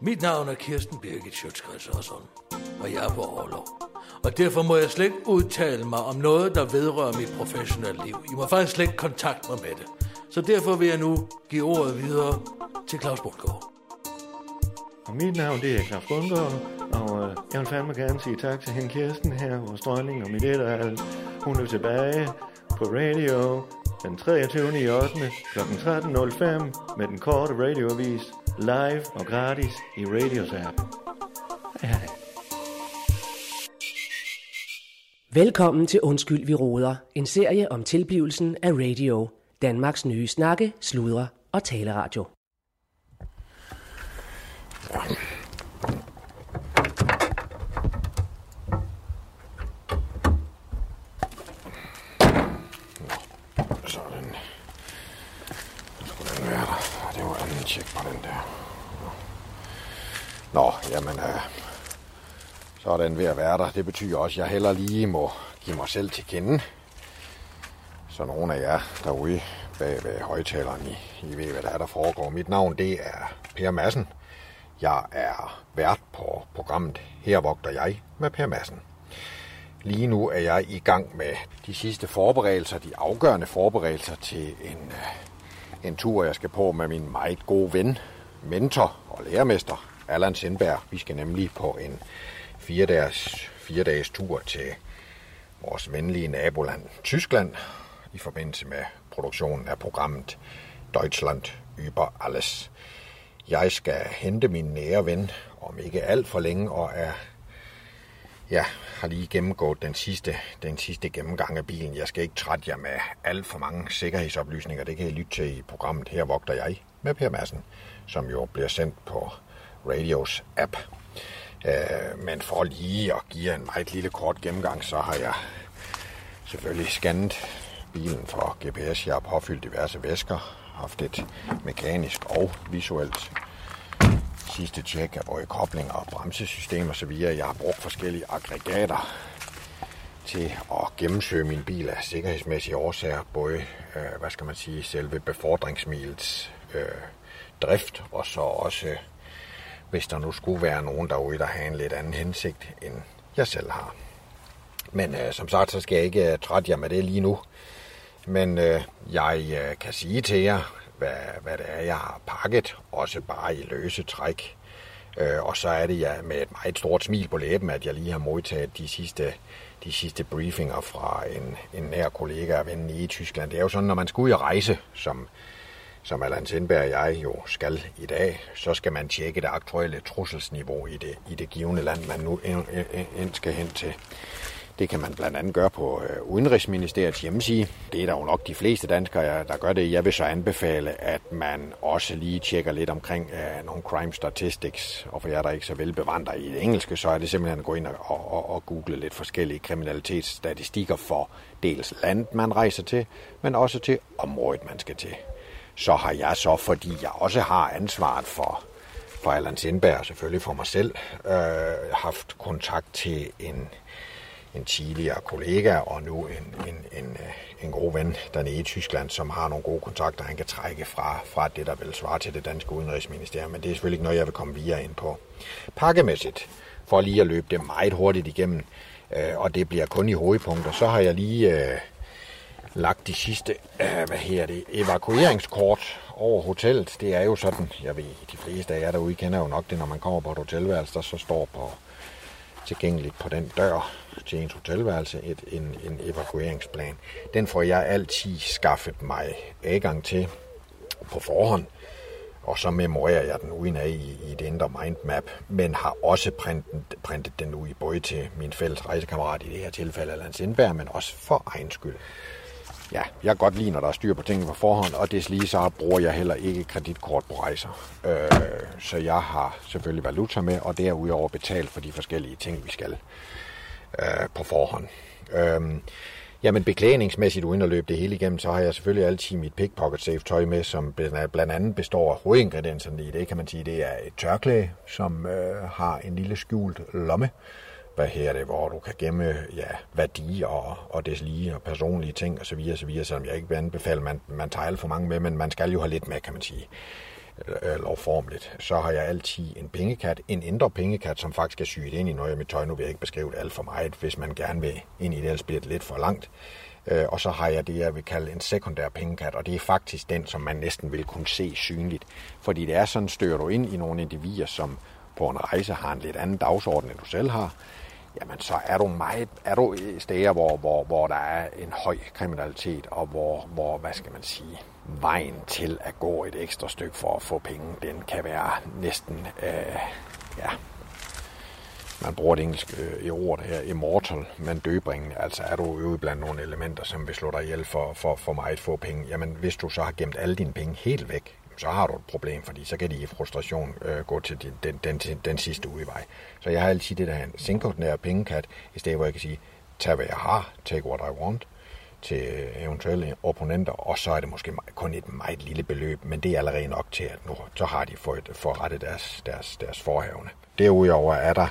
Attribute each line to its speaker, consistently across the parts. Speaker 1: Mit navn er Kirsten Birgit Sjøtskreds Osson, og jeg er på overlov. Og derfor må jeg slet ikke udtale mig om noget, der vedrører mit professionelle liv. I må faktisk slet ikke kontakte mig med det. Så derfor vil jeg nu give ordet videre til Claus Bundgaard.
Speaker 2: Og mit navn det er Claus Bundgaard, og øh, jeg vil fandme gerne sige tak til hende Kirsten her, vores dronning og mit et og alt. Hun er tilbage på radio den 23. i 8. kl. 13.05 med den korte radioavis live og gratis i Radios app. Hej hej.
Speaker 3: Velkommen til Undskyld, vi råder. En serie om tilblivelsen af radio. Danmarks nye snakke, sludre og taleradio.
Speaker 4: Sådan. Så skulle den være der. Og Det var en tjek på den der. Nå, jamen, øh, så er den ved at være der. Det betyder også, at jeg heller lige må give mig selv til kende. Så nogle af jer derude bag ved højtaleren, I, I ved, hvad der er, der foregår. Mit navn, det er Per Madsen. Jeg er vært på programmet Her vogter jeg med Per Madsen. Lige nu er jeg i gang med de sidste forberedelser, de afgørende forberedelser til en, øh, en tur, jeg skal på med min meget gode ven, mentor og lærermester, Allan Sindberg. Vi skal nemlig på en fire dages, fire dages tur til vores venlige naboland Tyskland i forbindelse med produktionen af programmet Deutschland über alles. Jeg skal hente min nære ven om ikke alt for længe og er jeg har lige gennemgået den sidste, den sidste gennemgang af bilen. Jeg skal ikke trætte jer med alt for mange sikkerhedsoplysninger. Det kan I lytte til i programmet Her vogter jeg med Per Madsen, som jo bliver sendt på Radios app. Øh, men for lige at give jer en meget lille kort gennemgang, så har jeg selvfølgelig scannet bilen for GPS. Jeg har påfyldt diverse væsker, haft et mekanisk og visuelt sidste tjek af både koblinger og bremsesystem og så videre. Jeg har brugt forskellige aggregater til at gennemsøge min bil af sikkerhedsmæssige årsager. Både, øh, hvad skal man sige, selve befordringsmilets øh, drift, og så også, øh, hvis der nu skulle være nogen derude, der har en lidt anden hensigt, end jeg selv har. Men øh, som sagt, så skal jeg ikke øh, trætte jer med det lige nu. Men øh, jeg øh, kan sige til jer, hvad, hvad det er, jeg har pakket, også bare i løse træk. Øh, og så er det ja, med et meget stort smil på læben, at jeg lige har modtaget de sidste, de sidste briefinger fra en, en nær kollega og ven i Tyskland. Det er jo sådan, når man skal ud og rejse, som, som Allan Sindberg og jeg jo skal i dag, så skal man tjekke det aktuelle trusselsniveau i det, i det givende land, man nu ind, ind, ind skal hen til. Det kan man blandt andet gøre på øh, Udenrigsministeriets hjemmeside. Det er der jo nok de fleste danskere, ja, der gør det. Jeg vil så anbefale, at man også lige tjekker lidt omkring øh, nogle crime statistics. Og for jer, der ikke så velbevandrer i det engelske, så er det simpelthen at gå ind og, og, og- og google lidt forskellige kriminalitetsstatistikker for dels land, man rejser til, men også til området, man skal til. Så har jeg så, fordi jeg også har ansvaret for for Allan Sindberg og selvfølgelig for mig selv, øh, haft kontakt til en, en tidligere kollega og nu en, en, en, øh, en god ven dernede i Tyskland, som har nogle gode kontakter, han kan trække fra, fra det, der vil svare til det danske udenrigsministerium. Men det er selvfølgelig ikke noget, jeg vil komme videre ind på. Pakkemæssigt, for lige at løbe det meget hurtigt igennem, øh, og det bliver kun i hovedpunkter, så har jeg lige... Øh, lagt de sidste øh, hvad her det, evakueringskort over hotellet. Det er jo sådan, jeg ved, de fleste af jer derude kender jo nok det, når man kommer på et hotelværelse, der så står på tilgængeligt på den dør til ens hotelværelse et, en, en evakueringsplan. Den får jeg altid skaffet mig adgang til på forhånd, og så memorerer jeg den uden af i, i et indre mindmap, men har også printet, printet den ud i både til min fælles rejsekammerat i det her tilfælde, Allan Sindberg, men også for egen skyld. Ja, jeg kan godt lide, når der er styr på tingene på forhånd, og deslige så bruger jeg heller ikke kreditkort på rejser. Øh, så jeg har selvfølgelig valuta med, og derudover betalt for de forskellige ting, vi skal øh, på forhånd. Øh, jamen beklædningsmæssigt, uden at løbe det hele igennem, så har jeg selvfølgelig altid mit pickpocket safe tøj med, som bl- blandt andet består af hovedingredienserne i det, kan man sige. Det er et tørklæde, som øh, har en lille skjult lomme, hvad her det, hvor du kan gemme ja, værdier og, og deslige og personlige ting osv. osv. Selvom jeg ikke vil anbefale, at man, man tager alt for mange med, men man skal jo have lidt med, kan man sige. øh, lovformeligt, så har jeg altid en pengekat, en indre pengekat, som faktisk er syet ind i noget af mit tøj. Nu vil jeg ikke beskrive det alt for meget, hvis man gerne vil ind i det, ellers bliver det lidt for langt. Øh, og så har jeg det, jeg vil kalde en sekundær pengekat, og det er faktisk den, som man næsten vil kunne se synligt. Fordi det er sådan, støder du ind i nogle individer, som på en rejse har en lidt anden dagsorden, end du selv har, jamen så er du meget, er du i steder, hvor, hvor, hvor der er en høj kriminalitet, og hvor, hvor, hvad skal man sige, vejen til at gå et ekstra stykke for at få penge, den kan være næsten, øh, ja, man bruger det engelske øh, ord her, immortal, men døbringen, altså er du øvet blandt nogle elementer, som vil slå dig ihjel for, for, for meget få penge, jamen hvis du så har gemt alle dine penge helt væk, så har du et problem, fordi så kan de i frustration øh, gå til den, den, den, den sidste udvej. Så jeg har altid det der en sinkordinær pengekat, i stedet hvor jeg kan sige, tag hvad jeg har, take what I want, til eventuelle opponenter, og så er det måske kun et meget lille beløb, men det er allerede nok til, at nu så har de fået forrettet deres, deres, deres forhævne. Derudover er der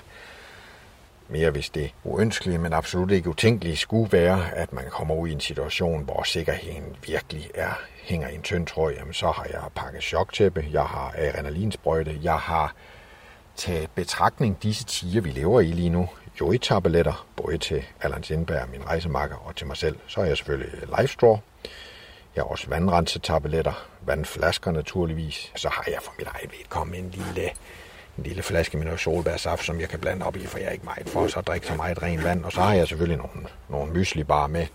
Speaker 4: mere hvis det uønskelige, men absolut ikke utænkelige skulle være, at man kommer ud i en situation, hvor sikkerheden virkelig er, hænger i en tynd tråd, jamen så har jeg pakket choktæppe, jeg har adrenalinsprøjte, jeg har taget betragtning disse tiger, vi lever i lige nu, jo i tabletter, både til Allan Sindberg, min rejsemakker, og til mig selv. Så har jeg selvfølgelig Lifestraw. Jeg har også vandrensetabletter, vandflasker naturligvis. Så har jeg for mit eget vedkommende en lille en lille flaske med noget solbærsaft, som jeg kan blande op i, for jeg er ikke meget for så at drikke så meget ren vand. Og så har jeg selvfølgelig nogle, nogle mysli bare med,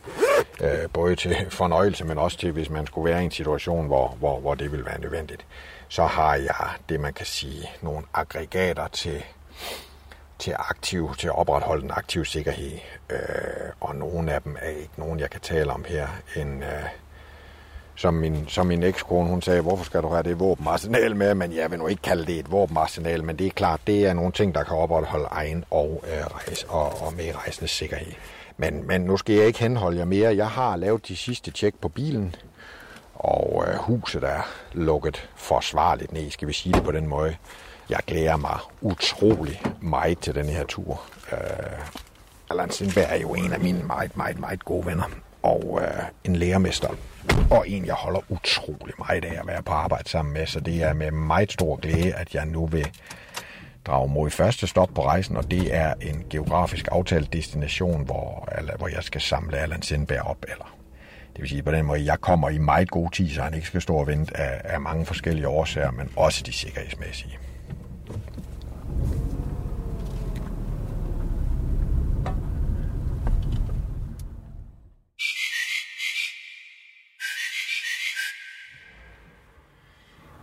Speaker 4: øh, både til fornøjelse, men også til, hvis man skulle være i en situation, hvor, hvor, hvor det ville være nødvendigt. Så har jeg det, man kan sige, nogle aggregater til, til, aktiv, til at opretholde den aktive sikkerhed. Øh, og nogle af dem er ikke nogen, jeg kan tale om her. En, øh, som min, som min ekskone, hun sagde, hvorfor skal du have det våbenarsenal med? Men jeg vil nu ikke kalde det et våbenarsenal, men det er klart, det er nogle ting, der kan opretholde egen og, øh, rejse, og, og medrejsendes sikkerhed. Men, men nu skal jeg ikke henholde jer mere. Jeg har lavet de sidste tjek på bilen, og øh, huset er lukket forsvarligt ned, skal vi sige det på den måde. Jeg glæder mig utrolig meget til den her tur. Øh, Allan Sindberg er jo en af mine meget, meget, meget gode venner. Og øh, en lærermester og en, jeg holder utrolig meget af at være på arbejde sammen med, så det er med meget stor glæde, at jeg nu vil drage mod første stop på rejsen, og det er en geografisk aftalt destination, hvor, hvor jeg skal samle Allan Sindberg op, eller det vil sige på den måde, jeg kommer i meget god tid, så han ikke skal stå og vente af, af mange forskellige årsager, men også de sikkerhedsmæssige.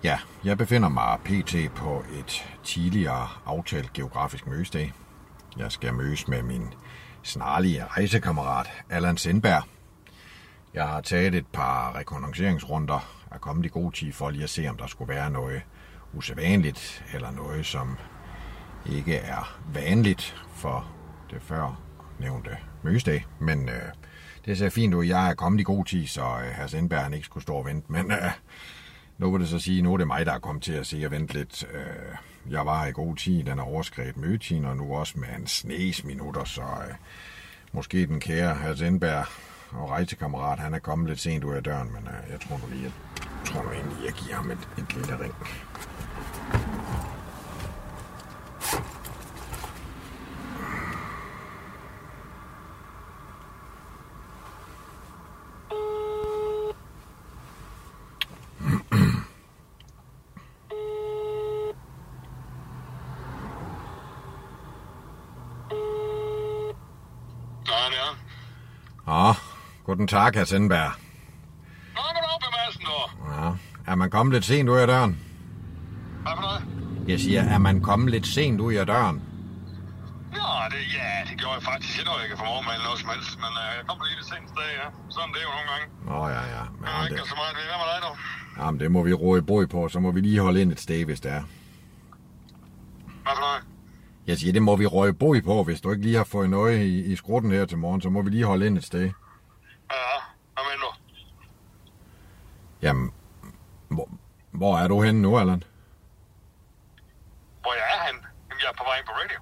Speaker 4: Ja, jeg befinder mig pt. på et tidligere aftalt geografisk mødesdag. Jeg skal mødes med min snarlige rejsekammerat, Allan Sindberg. Jeg har taget et par rekognosceringsrunder og kommet i god tid for lige at se, om der skulle være noget usædvanligt eller noget, som ikke er vanligt for det før nævnte mødesdag. Men øh, det ser fint ud. Jeg er kommet i god tid, så øh, herr Sindberg han ikke skulle stå og vente. Men øh, nu vil det så sige, at nu er det mig, der er kommet til at se og vente lidt. Øh, Jeg var i god tid, den er overskrevet mødetiden, og nu også med en snes minutter, så øh, måske den kære Hans Indberg og rejsekammerat, han er kommet lidt sent ud af døren, men øh, jeg tror nu lige, jeg, tror nu egentlig, jeg giver ham et, et lille ring. Guten Tag, Herr Sindberg.
Speaker 5: Kommer du op i massen, du?
Speaker 4: Ja. Er man kommet lidt sent ud af døren?
Speaker 5: Hvad for noget?
Speaker 4: Jeg siger, er man kommet lidt sent ud af døren?
Speaker 5: Ja, det, ja, det gjorde jeg faktisk. Jeg nåede ikke for morgenmad eller noget som helst, men øh, jeg kom lige det seneste dag, ja. Sådan det er jo nogle gange.
Speaker 4: Nå ja, ja. Men,
Speaker 5: jeg har ikke det... så meget ved. Hvad med dig, du?
Speaker 4: Jamen, det må vi råde boj på. Så må vi lige holde ind et sted, hvis det er.
Speaker 5: Hvad for noget?
Speaker 4: Jeg siger, det må vi røge boj på. Hvis du ikke lige har fået noget i, i skrutten her til morgen, så må vi lige holde ind et sted. Jamen, hvor, hvor er du henne nu, Allan?
Speaker 5: Hvor jeg er henne? Jamen, jeg er på vej ind på radio.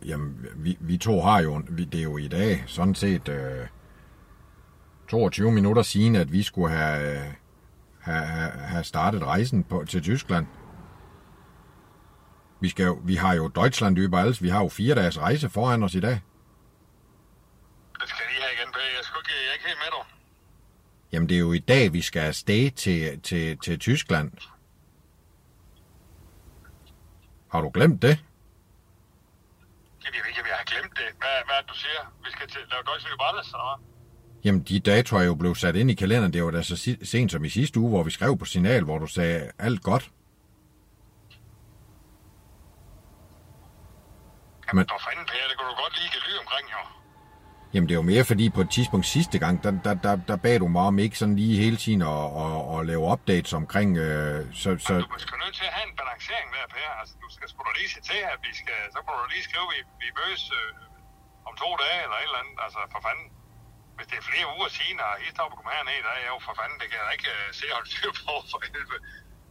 Speaker 4: Øh, jamen, vi, vi to har jo, vi, det er jo i dag, sådan set øh, 22 minutter siden, at vi skulle have øh, have, have, have startet rejsen på, til Tyskland. Vi, skal jo, vi har jo Deutschland über alles. Vi har jo fire dages rejse foran os i dag.
Speaker 5: Det skal lige have igen, Per. Jeg er sgu ikke, jeg er ikke helt med dig.
Speaker 4: Jamen, det er jo i dag, vi skal afsted til, til, til Tyskland. Har du glemt det?
Speaker 5: Jamen, jeg ved ikke, om jeg har glemt det. Hvad, hvad er det, du siger? Vi skal til, lave Deutsche Balles, eller hvad?
Speaker 4: Jamen, de datoer er jo blevet sat ind i kalenderen. Det var da så si- sent som i sidste uge, hvor vi skrev på signal, hvor du sagde alt godt.
Speaker 5: Jamen,
Speaker 4: Men-
Speaker 5: for fanden, Per, det kunne du godt lige give lyd omkring, jo.
Speaker 4: Jamen, det er jo mere fordi på et tidspunkt sidste gang, der, der, der, der bad du mig om ikke sådan lige hele tiden at, at, at lave updates omkring... Øh, så, så,
Speaker 5: Du er sgu nødt til at have en balancering der, Per. Altså, du skal sgu da lige se til, at vi skal... Så må du lige skrive, at vi, vi mødes øh, om to dage eller et eller andet. Altså, for fanden. Hvis det er flere uger siden, og helt op kommer herned, der er jeg jo for fanden, det kan jeg da ikke øh, se at holde styr på for helvede.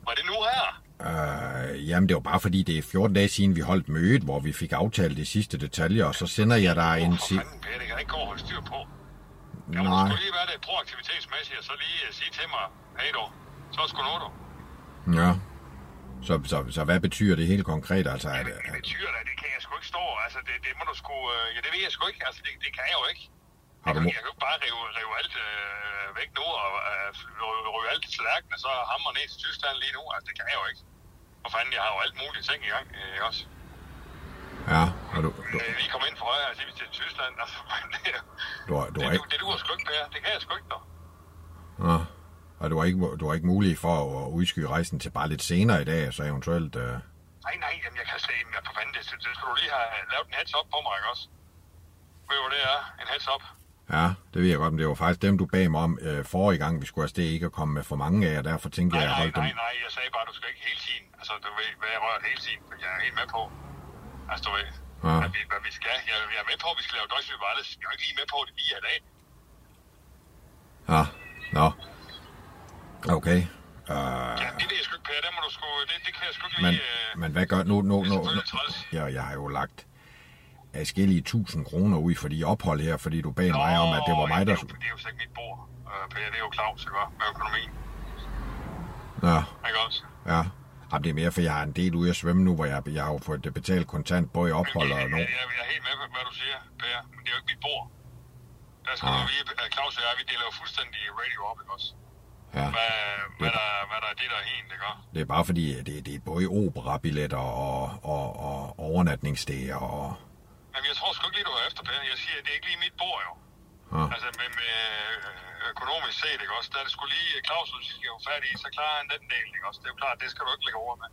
Speaker 5: Var det nu her?
Speaker 4: øh, jamen, det var bare fordi, det er 14 dage siden, vi holdt mødet, hvor vi fik aftalt de sidste detaljer, og så sender jeg dig en...
Speaker 5: For
Speaker 4: Si-
Speaker 5: fanden, Per, det kan jeg ikke gå og holde styr på. Jeg må
Speaker 4: Nej.
Speaker 5: sgu lige være det proaktivitetsmæssigt, og så lige uh, sige til mig, hey du, så er sgu nå du.
Speaker 4: Ja. Så, så, så hvad betyder det helt konkret? Altså, er det,
Speaker 5: Jamen, det betyder da, det kan jeg sgu ikke stå. Altså, det, det må du sgu... Øh, ja, det ved jeg sgu ikke. Altså, det, det kan jeg jo ikke.
Speaker 4: har du,
Speaker 5: Jeg,
Speaker 4: mo-
Speaker 5: kan- jeg kan jo ikke bare rive, rive alt øh, væk nu, og øh, ryge, ryge alt til lærken, og så hamre ned til Tyskland lige nu. Altså, det kan jeg jo ikke. For fanden, jeg har jo alt muligt ting i gang, øh, ikke også?
Speaker 4: ja, har du, du,
Speaker 5: Øh, vi kommer ind fra højre, altså, vi til Tyskland, altså, men det, er jo-
Speaker 4: du, har- du,
Speaker 5: det,
Speaker 4: har
Speaker 5: det,
Speaker 4: ikke,
Speaker 5: det duer sgu ikke, Per. Det kan jeg sgu ikke, dog.
Speaker 4: ja, og du har ikke, du har ikke mulighed for at udskyde rejsen til bare lidt senere i dag, så eventuelt... Øh,
Speaker 5: Nej, nej, jamen, jeg kan slet ikke, men for fanden, det, det skulle du lige have lavet en heads up på mig, ikke også? Ved du, hvad det er? En heads up.
Speaker 4: ja, det ved jeg godt, men det var faktisk dem, du bag mig om øh, forrige gang, vi skulle afsted ikke at komme med for mange af, og derfor tænkte
Speaker 5: Nej,
Speaker 4: jeg, at jeg
Speaker 5: nej,
Speaker 4: holdt dem...
Speaker 5: nej, nej, jeg sagde bare, at du skal ikke hele tiden. Altså, du ved, hvad jeg rører hele tiden, for jeg er helt med på. Altså, du ved,
Speaker 4: Ja.
Speaker 5: ja. hvad, vi, hvad vi skal. Jeg, jeg er med på, at vi skal lave Deutsche Wireless. Jeg er ikke lige med på det lige i dag.
Speaker 4: Ja, nå. Okay. Ah,
Speaker 5: Ja, det ved jeg sgu ikke, Per. Det, må du sgu, det, det kan jeg sgu ikke
Speaker 4: Men,
Speaker 5: lige... Øh,
Speaker 4: men hvad gør nu? nu,
Speaker 5: det er
Speaker 4: nu, nu
Speaker 5: selvfølgelig træls.
Speaker 4: jeg, jeg har jo lagt afskillige tusind kroner ud for de ophold her, fordi du bag mig om, at det var mig, der...
Speaker 5: Det er jo, det er jo slet ikke mit bord, øh, Per. Det er jo Claus, ikke også? Med økonomien,
Speaker 4: Ja,
Speaker 5: ikke også?
Speaker 4: ja. Jamen, det er mere, for jeg har en del ude at svømme nu, hvor jeg, jeg har jo fået det betalt kontant, både i ophold og
Speaker 5: jeg,
Speaker 4: nu.
Speaker 5: jeg, jeg, jeg er helt med på, hvad du siger, Per. Men det er jo ikke mit bord. Der skal du vide, at Claus og jeg, vi deler jo fuldstændig radio op, ikke også?
Speaker 4: Ja.
Speaker 5: Hvad, hvad, der, hvad der er det, der er helt, ikke også?
Speaker 4: Det er bare fordi, at det, det er både operabilletter og, og, og overnatningssteder og...
Speaker 5: Jamen, jeg tror sgu ikke lige, du er efter, Per. Jeg siger, at det er ikke lige mit bord, jo.
Speaker 4: Ja.
Speaker 5: Altså, men med økonomisk set, ikke også? Der er det sgu lige Claus, du skal jo fat i, så klarer han den del, ikke også? Det er jo klart, det skal du ikke lægge over med.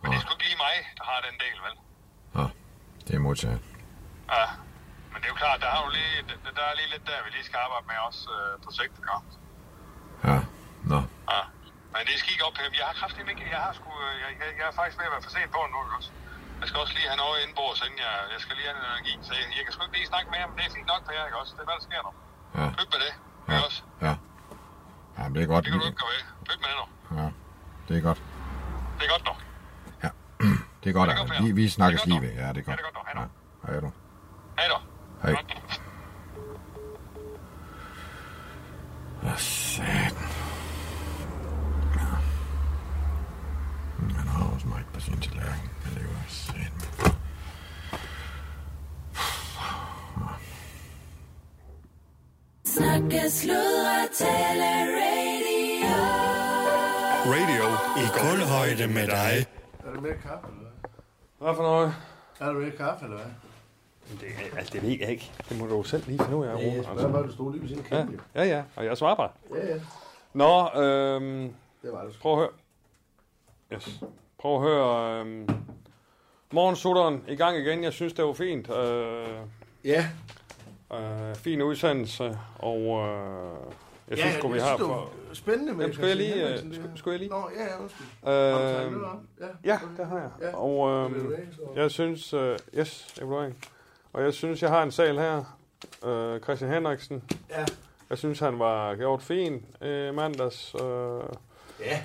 Speaker 5: Men det er sgu ikke lige mig, der har den del, vel?
Speaker 4: Ja, det er modtaget.
Speaker 5: Ja. Men det er jo klart, der, har du lige, der- der er lige lidt der, vi lige skal arbejde med også øh, på sigt, ikke også?
Speaker 4: Ja, nå.
Speaker 5: Ja. Men det skal ikke op, Pim. Jeg har kraftigt ikke. Jeg har sgu, øh, jeg, jeg, jeg, er faktisk ved at være for sent på nu, ikke også? Jeg skal også lige have noget indenbords, inden jeg, jeg skal lige have noget energi. Så jeg, jeg kan sgu ikke lige snakke mere, men det er fint nok på jer, ikke også? Det er, hvad der sker nu.
Speaker 4: Ja.
Speaker 5: Pyt med det, ikke
Speaker 4: Ja,
Speaker 5: også?
Speaker 4: ja. Jamen, det er godt.
Speaker 5: Det kan du ikke gå ved. Pyt med det nu.
Speaker 4: Ja, det er godt.
Speaker 5: Det er godt nok.
Speaker 4: Det er godt,
Speaker 5: Det er godt,
Speaker 4: Arne. Vi,
Speaker 5: Per.
Speaker 4: vi snakkes
Speaker 5: Det er
Speaker 4: lige
Speaker 5: godt,
Speaker 4: ved. Ja, det er
Speaker 5: Ja,
Speaker 4: godt.
Speaker 5: det er godt, dog. Hej, dog.
Speaker 4: Ja, hej du.
Speaker 5: Hej da.
Speaker 4: Hej.
Speaker 5: Godt.
Speaker 4: Åh, satan. Ja. Han har også meget på sin tallerken. Men det er jo satan.
Speaker 6: Snakke, sludre, tale, radio.
Speaker 7: Radio i guldhøjde med dig.
Speaker 8: Er der mere kaffe, eller hvad?
Speaker 9: Hvad for noget?
Speaker 8: Er der mere kaffe, eller hvad?
Speaker 9: Det, altså, det ved jeg ikke. Det må du jo selv lige finde ud af. Rune,
Speaker 8: Jeg spørger bare, du stod lige ved siden af kæmpe. jo.
Speaker 9: Ja, ja, og jeg svarer bare.
Speaker 8: Ja, ja.
Speaker 9: Nå, øhm,
Speaker 8: Det var det sgu.
Speaker 9: prøv at høre. Yes. Prøv at høre. Øhm, Morgensutteren i gang igen. Jeg synes, det var fint. Øh,
Speaker 8: Ja,
Speaker 9: øh, fin udsendelse, og øh, jeg synes,
Speaker 8: ja,
Speaker 9: sgu, vi
Speaker 8: jeg
Speaker 9: har...
Speaker 8: det
Speaker 9: For,
Speaker 8: var spændende med
Speaker 9: Jamen, skulle jeg
Speaker 8: Christian
Speaker 9: lige, øh,
Speaker 8: Henriksen, det
Speaker 9: skulle-
Speaker 8: her.
Speaker 9: skulle jeg lige?
Speaker 8: Nå, ja, ja, undskyld. Har du taget noget
Speaker 9: øh,
Speaker 8: om? Ja,
Speaker 9: ja,
Speaker 8: okay.
Speaker 9: det har jeg.
Speaker 8: Ja.
Speaker 9: Og
Speaker 8: Vil du
Speaker 9: øh,
Speaker 8: have, så-
Speaker 9: jeg synes... Øh, yes, evaluering. Og jeg synes, jeg har en sal her. Øh, Christian Henriksen.
Speaker 8: Ja.
Speaker 9: Jeg synes, han var gjort fin øh, mandags. Øh,
Speaker 8: Ja.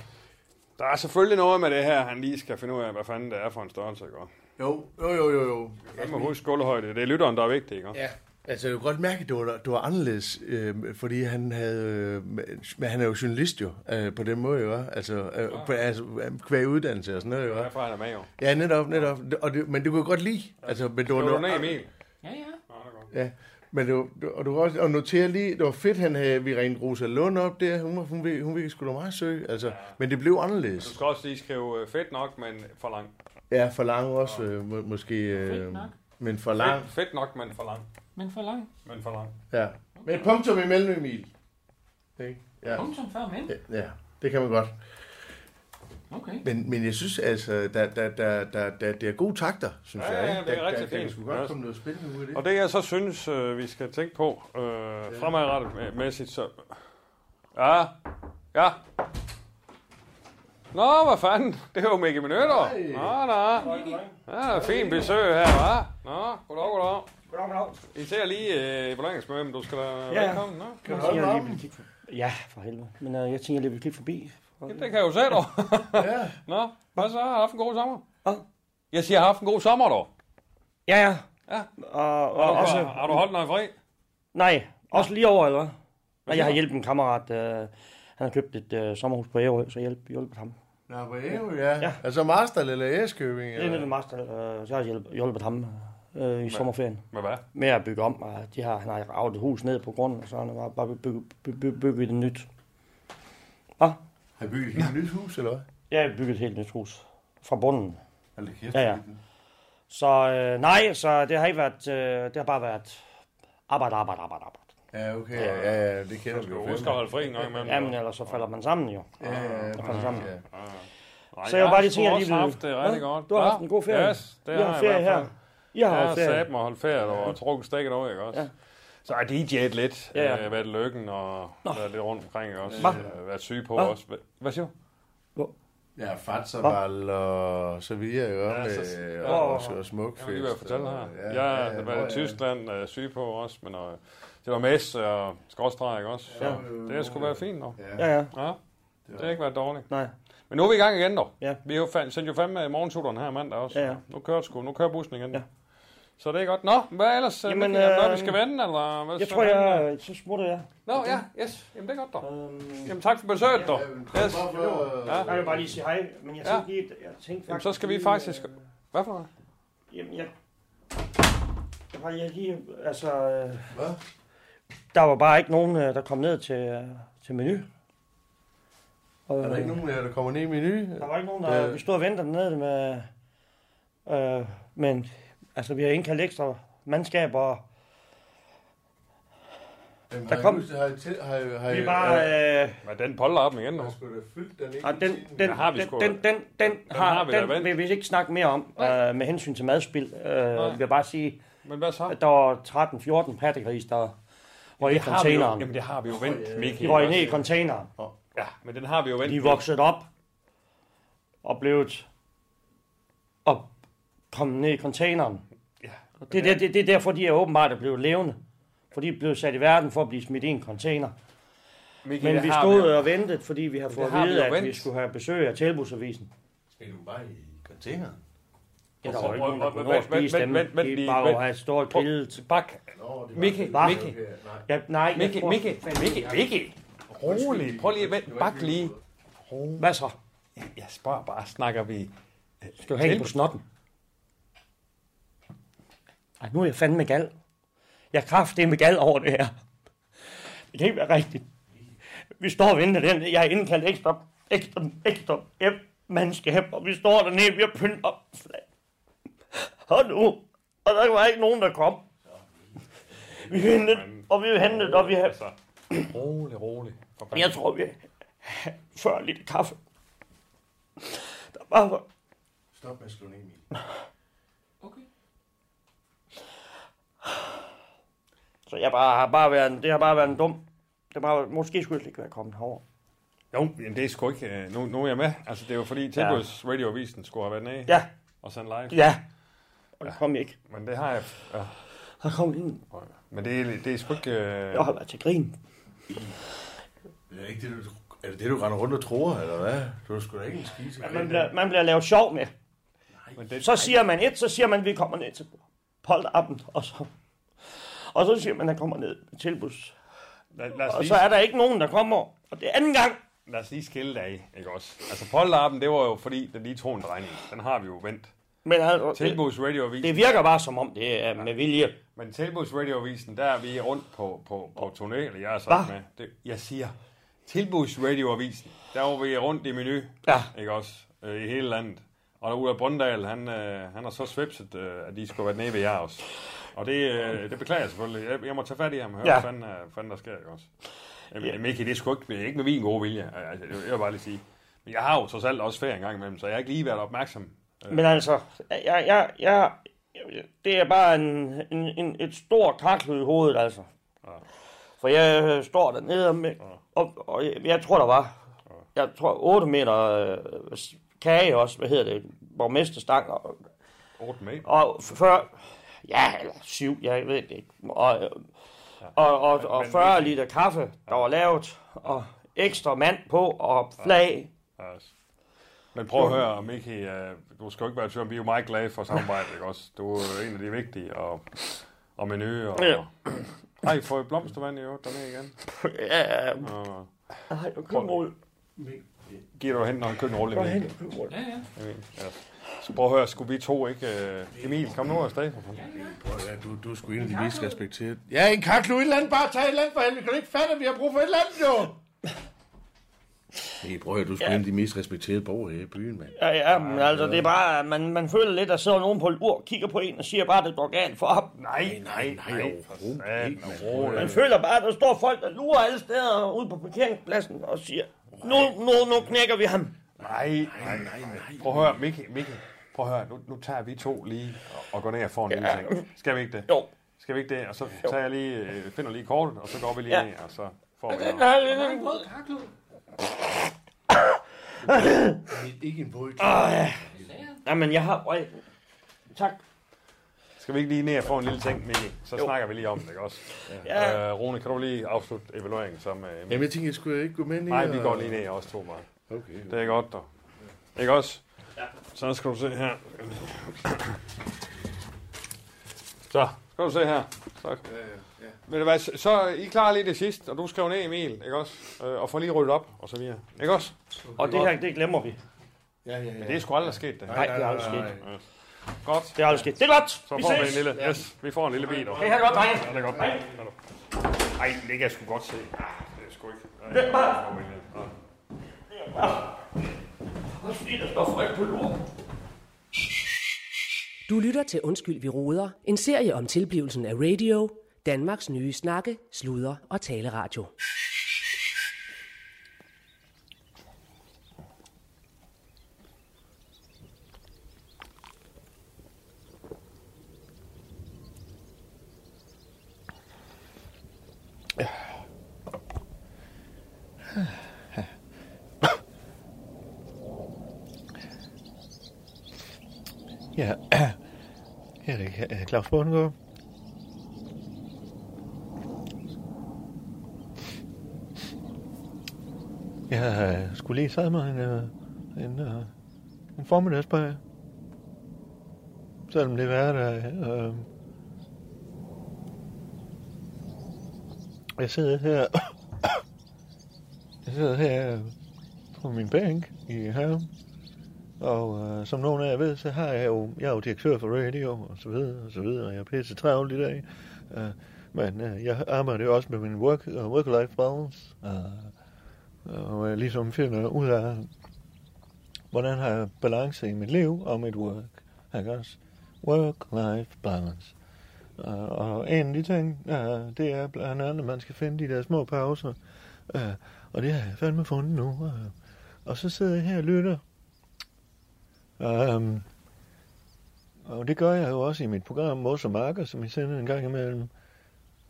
Speaker 9: Der er selvfølgelig noget med det her, han lige skal finde ud af, hvad fanden det er for en størrelse, ikke?
Speaker 8: Jo, jo, jo, jo, jo.
Speaker 9: Jeg må huske gulvhøjde. Det er lytteren, der er vigtig, ikke?
Speaker 8: Ja,
Speaker 10: Altså, jeg kunne godt mærke, at det var, det var anderledes, øh, fordi han havde... Øh, men han er jo journalist jo, øh, på den måde, jo. Altså, øh, på, altså hver uddannelse og sådan noget, jo.
Speaker 9: Derfor er han med jo.
Speaker 10: Ja, netop, netop. Og det, men det kunne jeg godt lide. Altså, men det var
Speaker 9: Skriv du
Speaker 10: noget,
Speaker 9: ned, Emil?
Speaker 11: Ja, ja.
Speaker 10: Ja, men det var, det- og du kan også og notere lige, det var fedt, han havde, vi rent Rosa Lund op der. Hun, var- hun, hun, hun virkede sgu da meget søg, altså. Ja. Men det blev
Speaker 9: Du
Speaker 10: anderledes.
Speaker 9: skal også lige skrive øh, fedt nok, men for lang.
Speaker 10: Ja, for lang også, øh, må, måske... Øh,
Speaker 9: nok.
Speaker 10: men for lang.
Speaker 9: Fedt, fedt nok, men for lang.
Speaker 11: Men for langt.
Speaker 9: Men for lang.
Speaker 10: Ja. Med et punktum imellem, Emil. Ikke? Ja.
Speaker 11: Punktum før men.
Speaker 10: Ja, ja, det kan man godt.
Speaker 11: Okay.
Speaker 10: Men, men jeg synes altså, der, der, der, der, der, det er gode takter, synes
Speaker 9: Ja,
Speaker 10: jeg.
Speaker 9: ja,
Speaker 10: ikke?
Speaker 9: det er
Speaker 10: Der-
Speaker 9: rigtig
Speaker 10: der kan
Speaker 9: fint.
Speaker 10: sgu godt
Speaker 9: Ja.
Speaker 10: komme noget spændende ud af det.
Speaker 9: Og det jeg så synes, øh, vi skal tænke på øh, fremadrettet mæ- mæssigt, så... Ja, ja. Nå, hvad fanden? Det var jo Mikke Minutter. Nå, nå. Ah, Ja, fint besøg her, hva'? Nå, goddag, goddag. Goddag, goddag. I ser lige øh, belønningsmøde, men du skal da ja. velkommen. Nå.
Speaker 12: Kan du jeg lige vil kigge for- Ja, for helvede. Men øh, jeg tænker, jeg vil kigge forbi.
Speaker 9: Jamen, Det kan jeg jo se, dog. ja. Nå, hvad så? Har du haft en god sommer? Hvad? Jeg siger, har du haft en god sommer, dog.
Speaker 12: Ja, ja.
Speaker 9: Ja.
Speaker 12: Og, og
Speaker 9: Har du,
Speaker 12: også...
Speaker 9: har du holdt noget fri?
Speaker 12: Nej, også lige over, eller hvad?
Speaker 9: Hvad
Speaker 12: Nej, jeg har
Speaker 9: siger
Speaker 12: hjulpet en kammerat. Øh, han har købt et øh, sommerhus på Ærø, så jeg hjælp, hjulpet ham.
Speaker 10: Nå, på Ærø, ja. ja. Altså Master eller Eskøbing?
Speaker 12: Det er lidt en master, øh, så jeg har hjulpet, hjulpet ham øh, i sommerferien.
Speaker 9: Med hvad?
Speaker 12: Med at bygge om. Og de har, han har ravet et hus ned på grunden, og så har han bare, bare bygget, bygget, bygget et nyt. Hvad?
Speaker 10: Har I bygget et helt nyt hus, eller hvad?
Speaker 12: Ja, jeg har bygget et helt nyt hus. Fra bunden.
Speaker 10: Hold da kæft,
Speaker 12: ja, ja. Så øh, nej, så det har ikke været, øh, det har bare været arbejde, arbejde, arbejde, arbejde.
Speaker 10: Ja, okay. Ja, ja, ja, det kender vi jo.
Speaker 9: huske at holde fri en gang imellem.
Speaker 12: Ja, men ellers så falder man sammen jo.
Speaker 10: Ja, ja, ja,
Speaker 12: Så falder
Speaker 10: præcis,
Speaker 12: sammen.
Speaker 10: ja.
Speaker 9: Nej,
Speaker 12: Så jeg var bare lige
Speaker 9: sgu
Speaker 12: tænker, jeg
Speaker 9: også
Speaker 12: lige vil-
Speaker 9: haft det rigtig
Speaker 12: Nå,
Speaker 9: godt.
Speaker 12: du har
Speaker 9: Nå,
Speaker 12: haft en god ferie.
Speaker 9: Yes, det
Speaker 12: I
Speaker 9: har
Speaker 12: har
Speaker 9: jeg
Speaker 12: ferie
Speaker 9: i hvert fald.
Speaker 12: her. I har
Speaker 9: jeg
Speaker 12: holdt ferie.
Speaker 9: sat mig og holdt ferie og trukket stikket over, ikke også? Ja. Så har jeg DJ'et lidt,
Speaker 12: Ja,
Speaker 9: ja,
Speaker 12: ja.
Speaker 9: ja. Øh, været i lykken og været lidt rundt omkring, ikke også?
Speaker 12: Hva?
Speaker 9: Øh, været syg på
Speaker 12: Hva?
Speaker 9: også. Hva- Hvad siger du?
Speaker 10: Ja, Fatservald og så videre, jo. Ja,
Speaker 9: så-
Speaker 10: med, øh,
Speaker 9: ja.
Speaker 10: og, og, og
Speaker 9: Jeg vil lige være
Speaker 10: smukfest.
Speaker 9: fortælle her.
Speaker 10: og-
Speaker 9: Ja, jeg har været i Tyskland øh, syg på også, men øh, det var mæs og skråstrej, ikke også? Så
Speaker 12: Ja.
Speaker 9: det har sgu været fint nok.
Speaker 12: Ja, ja.
Speaker 9: ja. Det har ikke været dårligt.
Speaker 12: Nej.
Speaker 9: Men nu er vi i gang igen, dog.
Speaker 12: Ja.
Speaker 9: Vi har jo fa- sendt jo fandme morgensutteren her mandag også.
Speaker 12: Ja, ja.
Speaker 9: Nu kører det sgu. Nu kører bussen igen. Ja. Så det er godt. Nå, hvad ellers? Jamen,
Speaker 12: Jamen,
Speaker 9: Mikkel, er der noget, vi
Speaker 12: øh,
Speaker 9: skal vende, eller hvad?
Speaker 12: Jeg
Speaker 9: så
Speaker 12: tror,
Speaker 9: fanden, øh?
Speaker 12: jeg, så smutter jeg.
Speaker 9: Nå, ja, yes. Jamen, det er godt, dog.
Speaker 12: Øhm.
Speaker 9: Jamen, tak for besøget, dog. Yes.
Speaker 12: Ja. Jeg vil bare lige sige hej, men jeg
Speaker 9: Ja.
Speaker 12: tænkte lige, at- jeg tænkte faktisk...
Speaker 9: Jamen, så skal vi
Speaker 12: lige,
Speaker 9: faktisk... Hvad for noget?
Speaker 12: øh, Jamen, jeg... Jeg var jeg lige, altså... Hvad? Der var bare ikke nogen, øh, der kom ned til, øh, til menu. Og,
Speaker 10: Er der ikke nogen af jer, der kommer ned i menu? Øh.
Speaker 12: Der var ikke nogen, der... Vi stod og ventede ned med... Øh, men altså, vi har indkaldt ekstra mandskab, og
Speaker 10: Jamen,
Speaker 12: der
Speaker 10: har I
Speaker 12: kom-
Speaker 10: lyst til- Har I til... Har I... Har
Speaker 12: vi
Speaker 10: I...
Speaker 12: er bare... Øh,
Speaker 9: Hvad, den polder op igen, dog.
Speaker 10: Skulle da fyldt den ikke?
Speaker 12: Ja, den, den,
Speaker 9: har vi
Speaker 12: den,
Speaker 9: sgu.
Speaker 12: den, den, den, har,
Speaker 9: har vi da
Speaker 12: den
Speaker 9: vendt.
Speaker 12: vil vi ikke snakke mere om øh, med hensyn til madspil. Øh, vi vil bare sige,
Speaker 9: Men hvad så?
Speaker 12: at der var 13-14 pattegris, der røg i
Speaker 9: har vi jo,
Speaker 12: containeren.
Speaker 9: jamen, det har vi jo vendt, Mikkel.
Speaker 12: De røg ned i containeren.
Speaker 9: Ja, men den har vi jo vendt.
Speaker 12: De voksede op og blev og kom ned i containeren. Det, det, det, det er derfor, de er åbenbart er blevet levende. For de er blevet sat i verden for at blive smidt i en container.
Speaker 9: Mikkel,
Speaker 12: Men
Speaker 9: det
Speaker 12: vi
Speaker 9: har
Speaker 12: stod
Speaker 9: vi jo.
Speaker 12: og ventede, fordi vi har fået
Speaker 9: har
Speaker 12: at
Speaker 9: vi
Speaker 12: vide,
Speaker 9: jo
Speaker 12: at vi
Speaker 9: vendt.
Speaker 12: skulle have besøg af tilbudsavisen.
Speaker 10: Skal du bare i containeren?
Speaker 12: Ja, der
Speaker 9: Prøv-
Speaker 12: var ikke nogen, der kunne
Speaker 9: prøv-
Speaker 12: nå
Speaker 9: vent-
Speaker 12: at spise
Speaker 9: vent-
Speaker 12: dem.
Speaker 9: vent- vent
Speaker 12: De
Speaker 9: lige,
Speaker 12: bare
Speaker 9: vent.
Speaker 12: over have et stort billede.
Speaker 9: Bak. Mikkel,
Speaker 12: Hvad?
Speaker 9: Mikkel,
Speaker 12: Ja, nej, jeg
Speaker 9: Mikkel,
Speaker 12: tror-
Speaker 9: Mikkel, Mikkel, Mikkel. Rolig. Prøv lige at vente. Bak lige.
Speaker 12: Hvad så?
Speaker 9: Jeg spørger bare, snakker vi...
Speaker 12: Skal du hænge på snotten? Ej, nu er jeg fandme gal. Jeg er kraftedeme gal over det her. Det kan ikke være rigtigt. Vi står og venter den. Jeg har indkaldt ekstra, ekstra, ekstra ja, mandskab, og vi står dernede, vi har pyntet op. Og nu, og der var ikke nogen, der kom. Vi ventede, og vi ventede, og vi havde...
Speaker 9: Rolig, rolig. For fanden.
Speaker 12: Jeg tror, vi havde 40 liter kaffe. Der var
Speaker 10: Stop med at slå ned, Emil.
Speaker 12: Så jeg bare, har bare været, en- det har bare været en dum... Det har bare, været- måske skulle jeg slet ikke være kommet herover.
Speaker 9: Jo, men det er sgu ikke... øh, Nu, nu er jeg med. Altså, det er jo fordi Tilbuds Radioavisen skulle have været nede
Speaker 12: Ja,
Speaker 9: og sendt live.
Speaker 12: ja. Og det kom jeg ikke.
Speaker 9: Men det har jeg... Ja.
Speaker 12: Der kom ingen.
Speaker 9: Men det, er- det er sgu ikke... øh,
Speaker 12: Jeg har været til grin.
Speaker 10: Det er, ikke det, du, er det det, du render rundt og tror, eller hvad? Du er sgu da ikke en skise.
Speaker 12: Men Man bliver, man bliver lavet sjov med.
Speaker 9: Men det,
Speaker 12: Så siger man et, så siger man, vi kommer ned til Polterappen, og så... Og så siger man, at der kommer ned med tilbus.
Speaker 9: Lad, lad os
Speaker 12: Og
Speaker 9: lige-
Speaker 12: så er der ikke nogen, der kommer. Og det er anden gang.
Speaker 9: Lad os lige skille det af, ikke også? Altså, polterappen, det var jo fordi, den lige tog en drejning. Den har vi jo vendt.
Speaker 12: Men altså, det-
Speaker 9: Tilbuds radioavisen.
Speaker 12: det virker bare som om, det er med vilje.
Speaker 9: Men Tilbuds radioavisen, der er vi rundt på, på, på turné, eller jeg er sagt med. Det, jeg siger, Tilbuds radioavisen, der var vi rundt i menu, ja. ikke også? Øh, I hele landet. Og der ude af Brøndal, han, øh, han har så svipset, øh, at de skulle være nede ved jer også. Og det, øh, det beklager jeg selvfølgelig. Jeg, jeg må tage fat i ham og høre,
Speaker 12: Ja.
Speaker 9: ja. hvad fanden, øh, fanden der sker, ikke også? Jamen, ja. Mickey, det er sgu ikke, det er ikke med min gode vilje. Altså, det vil jeg vil bare lige sige. Men jeg har jo trods alt også ferie en gang imellem, så jeg har ikke lige været opmærksom.
Speaker 12: Men altså, jeg, jeg, jeg, det er bare en, en, en, et stort kaklet i hovedet, altså. For jeg øh, står dernede, og, med, og, og jeg, jeg tror, der var jeg tror 8 meter øh, s- kage også, hvad hedder det, borgmesterstang. Og,
Speaker 9: 8 meter?
Speaker 12: Og f- før, ja, eller 7, jeg ved det ikke. Og, øh, og, og, og 40 liter kaffe, der var lavet, og ekstra mand på, og flag.
Speaker 9: Altså. Men prøv at høre, Miki, øh, du skal jo ikke være i tvivl om, vi er jo meget glade for samarbejdet, ikke også? Du er jo en af de vigtige, og, og menu, og...
Speaker 12: Ja.
Speaker 9: Ja. Ej, får I blomstervand i øvrigt dernede igen?
Speaker 12: Ja.
Speaker 9: Og,
Speaker 12: Ej, og køkkenrulle.
Speaker 9: giver du hen, når han køkken rulle,
Speaker 12: Gå hen,
Speaker 9: Emil?
Speaker 12: køkkenrulle. Ja, ja.
Speaker 9: Emil, ja. Så prøv at høre, skulle vi to ikke... Øh, Emil, kom nu afsted.
Speaker 10: Ja, du, du er sgu en af de mest respekterede.
Speaker 13: Ja, en kaklu, et eller andet, bare tag et eller andet for helvede. Kan du ikke fatte, at vi har brug for et eller andet, jo?
Speaker 10: Nej, bror, du er sgu en af de mest respekterede borgere her i byen, mand.
Speaker 12: Ja, ja, men altså, det er bare, at man, man føler lidt, at der sidder nogen på et ur, kigger på en og siger bare, at det går galt for ham.
Speaker 9: Nej, nej, nej, overhovedet ikke,
Speaker 12: Man føler bare, at der står folk, der lurer alle steder ude på parkeringspladsen og siger, nu, nu, nu knækker vi ham.
Speaker 9: Nej, nej, nej, nej. Prøv at høre, Miki, Miki, prøv at høre, nu, nu tager vi to lige og, og går ned og får en lille ting. Skal vi ikke det?
Speaker 12: Jo.
Speaker 9: Skal vi ikke det? Og så tager jeg lige, øh, finder lige kortet, og så går vi lige
Speaker 12: Ja.
Speaker 9: ja. ned, og så får vi...
Speaker 12: Den
Speaker 9: noget.
Speaker 12: er lidt en brød.
Speaker 8: Ikke en brød.
Speaker 12: Åh, ja. Jamen, jeg har... Øj, tak.
Speaker 9: Skal vi ikke lige ned og få en lille ting, Mikkel? Så jo. snakker vi lige om det, ikke også?
Speaker 10: Ja.
Speaker 9: Ja. Øh, Rune, kan du lige afslutte evalueringen som... Øh,
Speaker 10: Jamen, jeg tænkte, jeg skulle ikke gå med ned.
Speaker 9: Nej, vi
Speaker 10: og-
Speaker 9: går lige ned også, to bare.
Speaker 10: Okay.
Speaker 9: Det er godt, dog. Ikke også? Ja. Så skal du se her. Så, skal du se her. Så. Ja, ja. Ved du hvad, så, så I klarer lige det sidste, og du skriver ned, Emil, ikke også? Øh, og får lige ryddet op, og så videre. Ikke også?
Speaker 12: Okay. Og det her, det glemmer vi.
Speaker 9: Ja, ja, ja. Men det er sgu aldrig sket, det her.
Speaker 12: Nej, det er aldrig sket.
Speaker 9: Ja. Godt.
Speaker 12: Det er aldrig sket. Det er godt.
Speaker 9: Så
Speaker 12: Vi
Speaker 9: får vi en
Speaker 12: ses.
Speaker 9: lille, yes, vi får en lille bil. dog.
Speaker 12: Det her er godt, drenge.
Speaker 9: Ja, det er godt.
Speaker 12: Hej.
Speaker 9: Ej, det kan jeg sgu godt se. Ah, det er sgu ikke.
Speaker 12: Det er bare-
Speaker 9: Ja.
Speaker 3: Du lytter til Undskyld, vi roder, en serie om tilblivelsen af radio, Danmarks nye snakke, sludre og taleradio.
Speaker 2: Ja, her er det øh, Claus Bundgaard. Jeg øh, skulle lige sidde med en, øh, en, øh, en formiddagsbag. Selvom det var der. Øh, jeg sidder her. jeg sidder her øh, på min bænk i haven. Og øh, som nogen af jer ved, så har jeg jo, jeg er jo direktør for radio, og så videre, og så videre, og jeg er pisse travlt i dag. Øh, men øh, jeg arbejder jo også med min work, uh, work-life balance, øh, og øh, ligesom finder ud af, hvordan har jeg balance i mit liv og mit work. Ikke også? Work-life balance. Øh, og en af de ting, øh, det er blandt andet, at man skal finde de der små pauser. Øh, og det har jeg fandme fundet nu. Øh. Og så sidder jeg her og lytter Um, og det gør jeg jo også i mit program Mos og Marker, som jeg sender en gang imellem.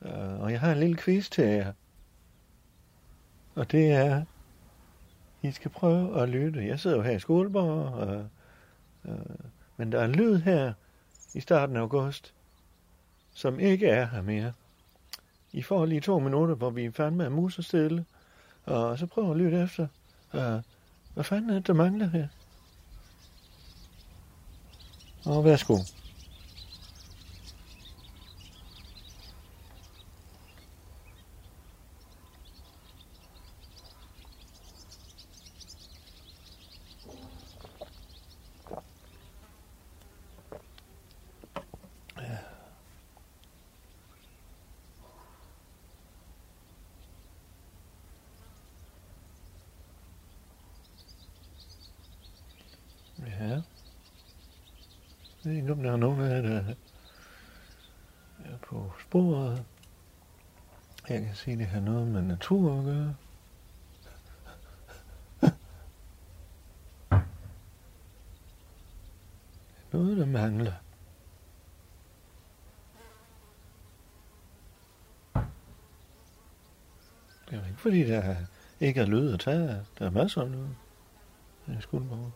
Speaker 2: Uh, og jeg har en lille quiz til jer. Og det er, I skal prøve at lytte. Jeg sidder jo her i Skoleborg, og, uh, men der er en lyd her i starten af august, som ikke er her mere. I får lige to minutter, hvor vi fandme er musestille, og så prøv at lytte efter. Uh, hvad fanden er det, der mangler her? Og værsgo. Jeg ved ikke, om der er nogen af jer, der er på sporet. Jeg kan se, det har noget med natur at gøre. Noget, der mangler. Det er jo ikke, fordi der ikke er lyd at tage. af. Der er masser af lyd. Jeg skulle bare...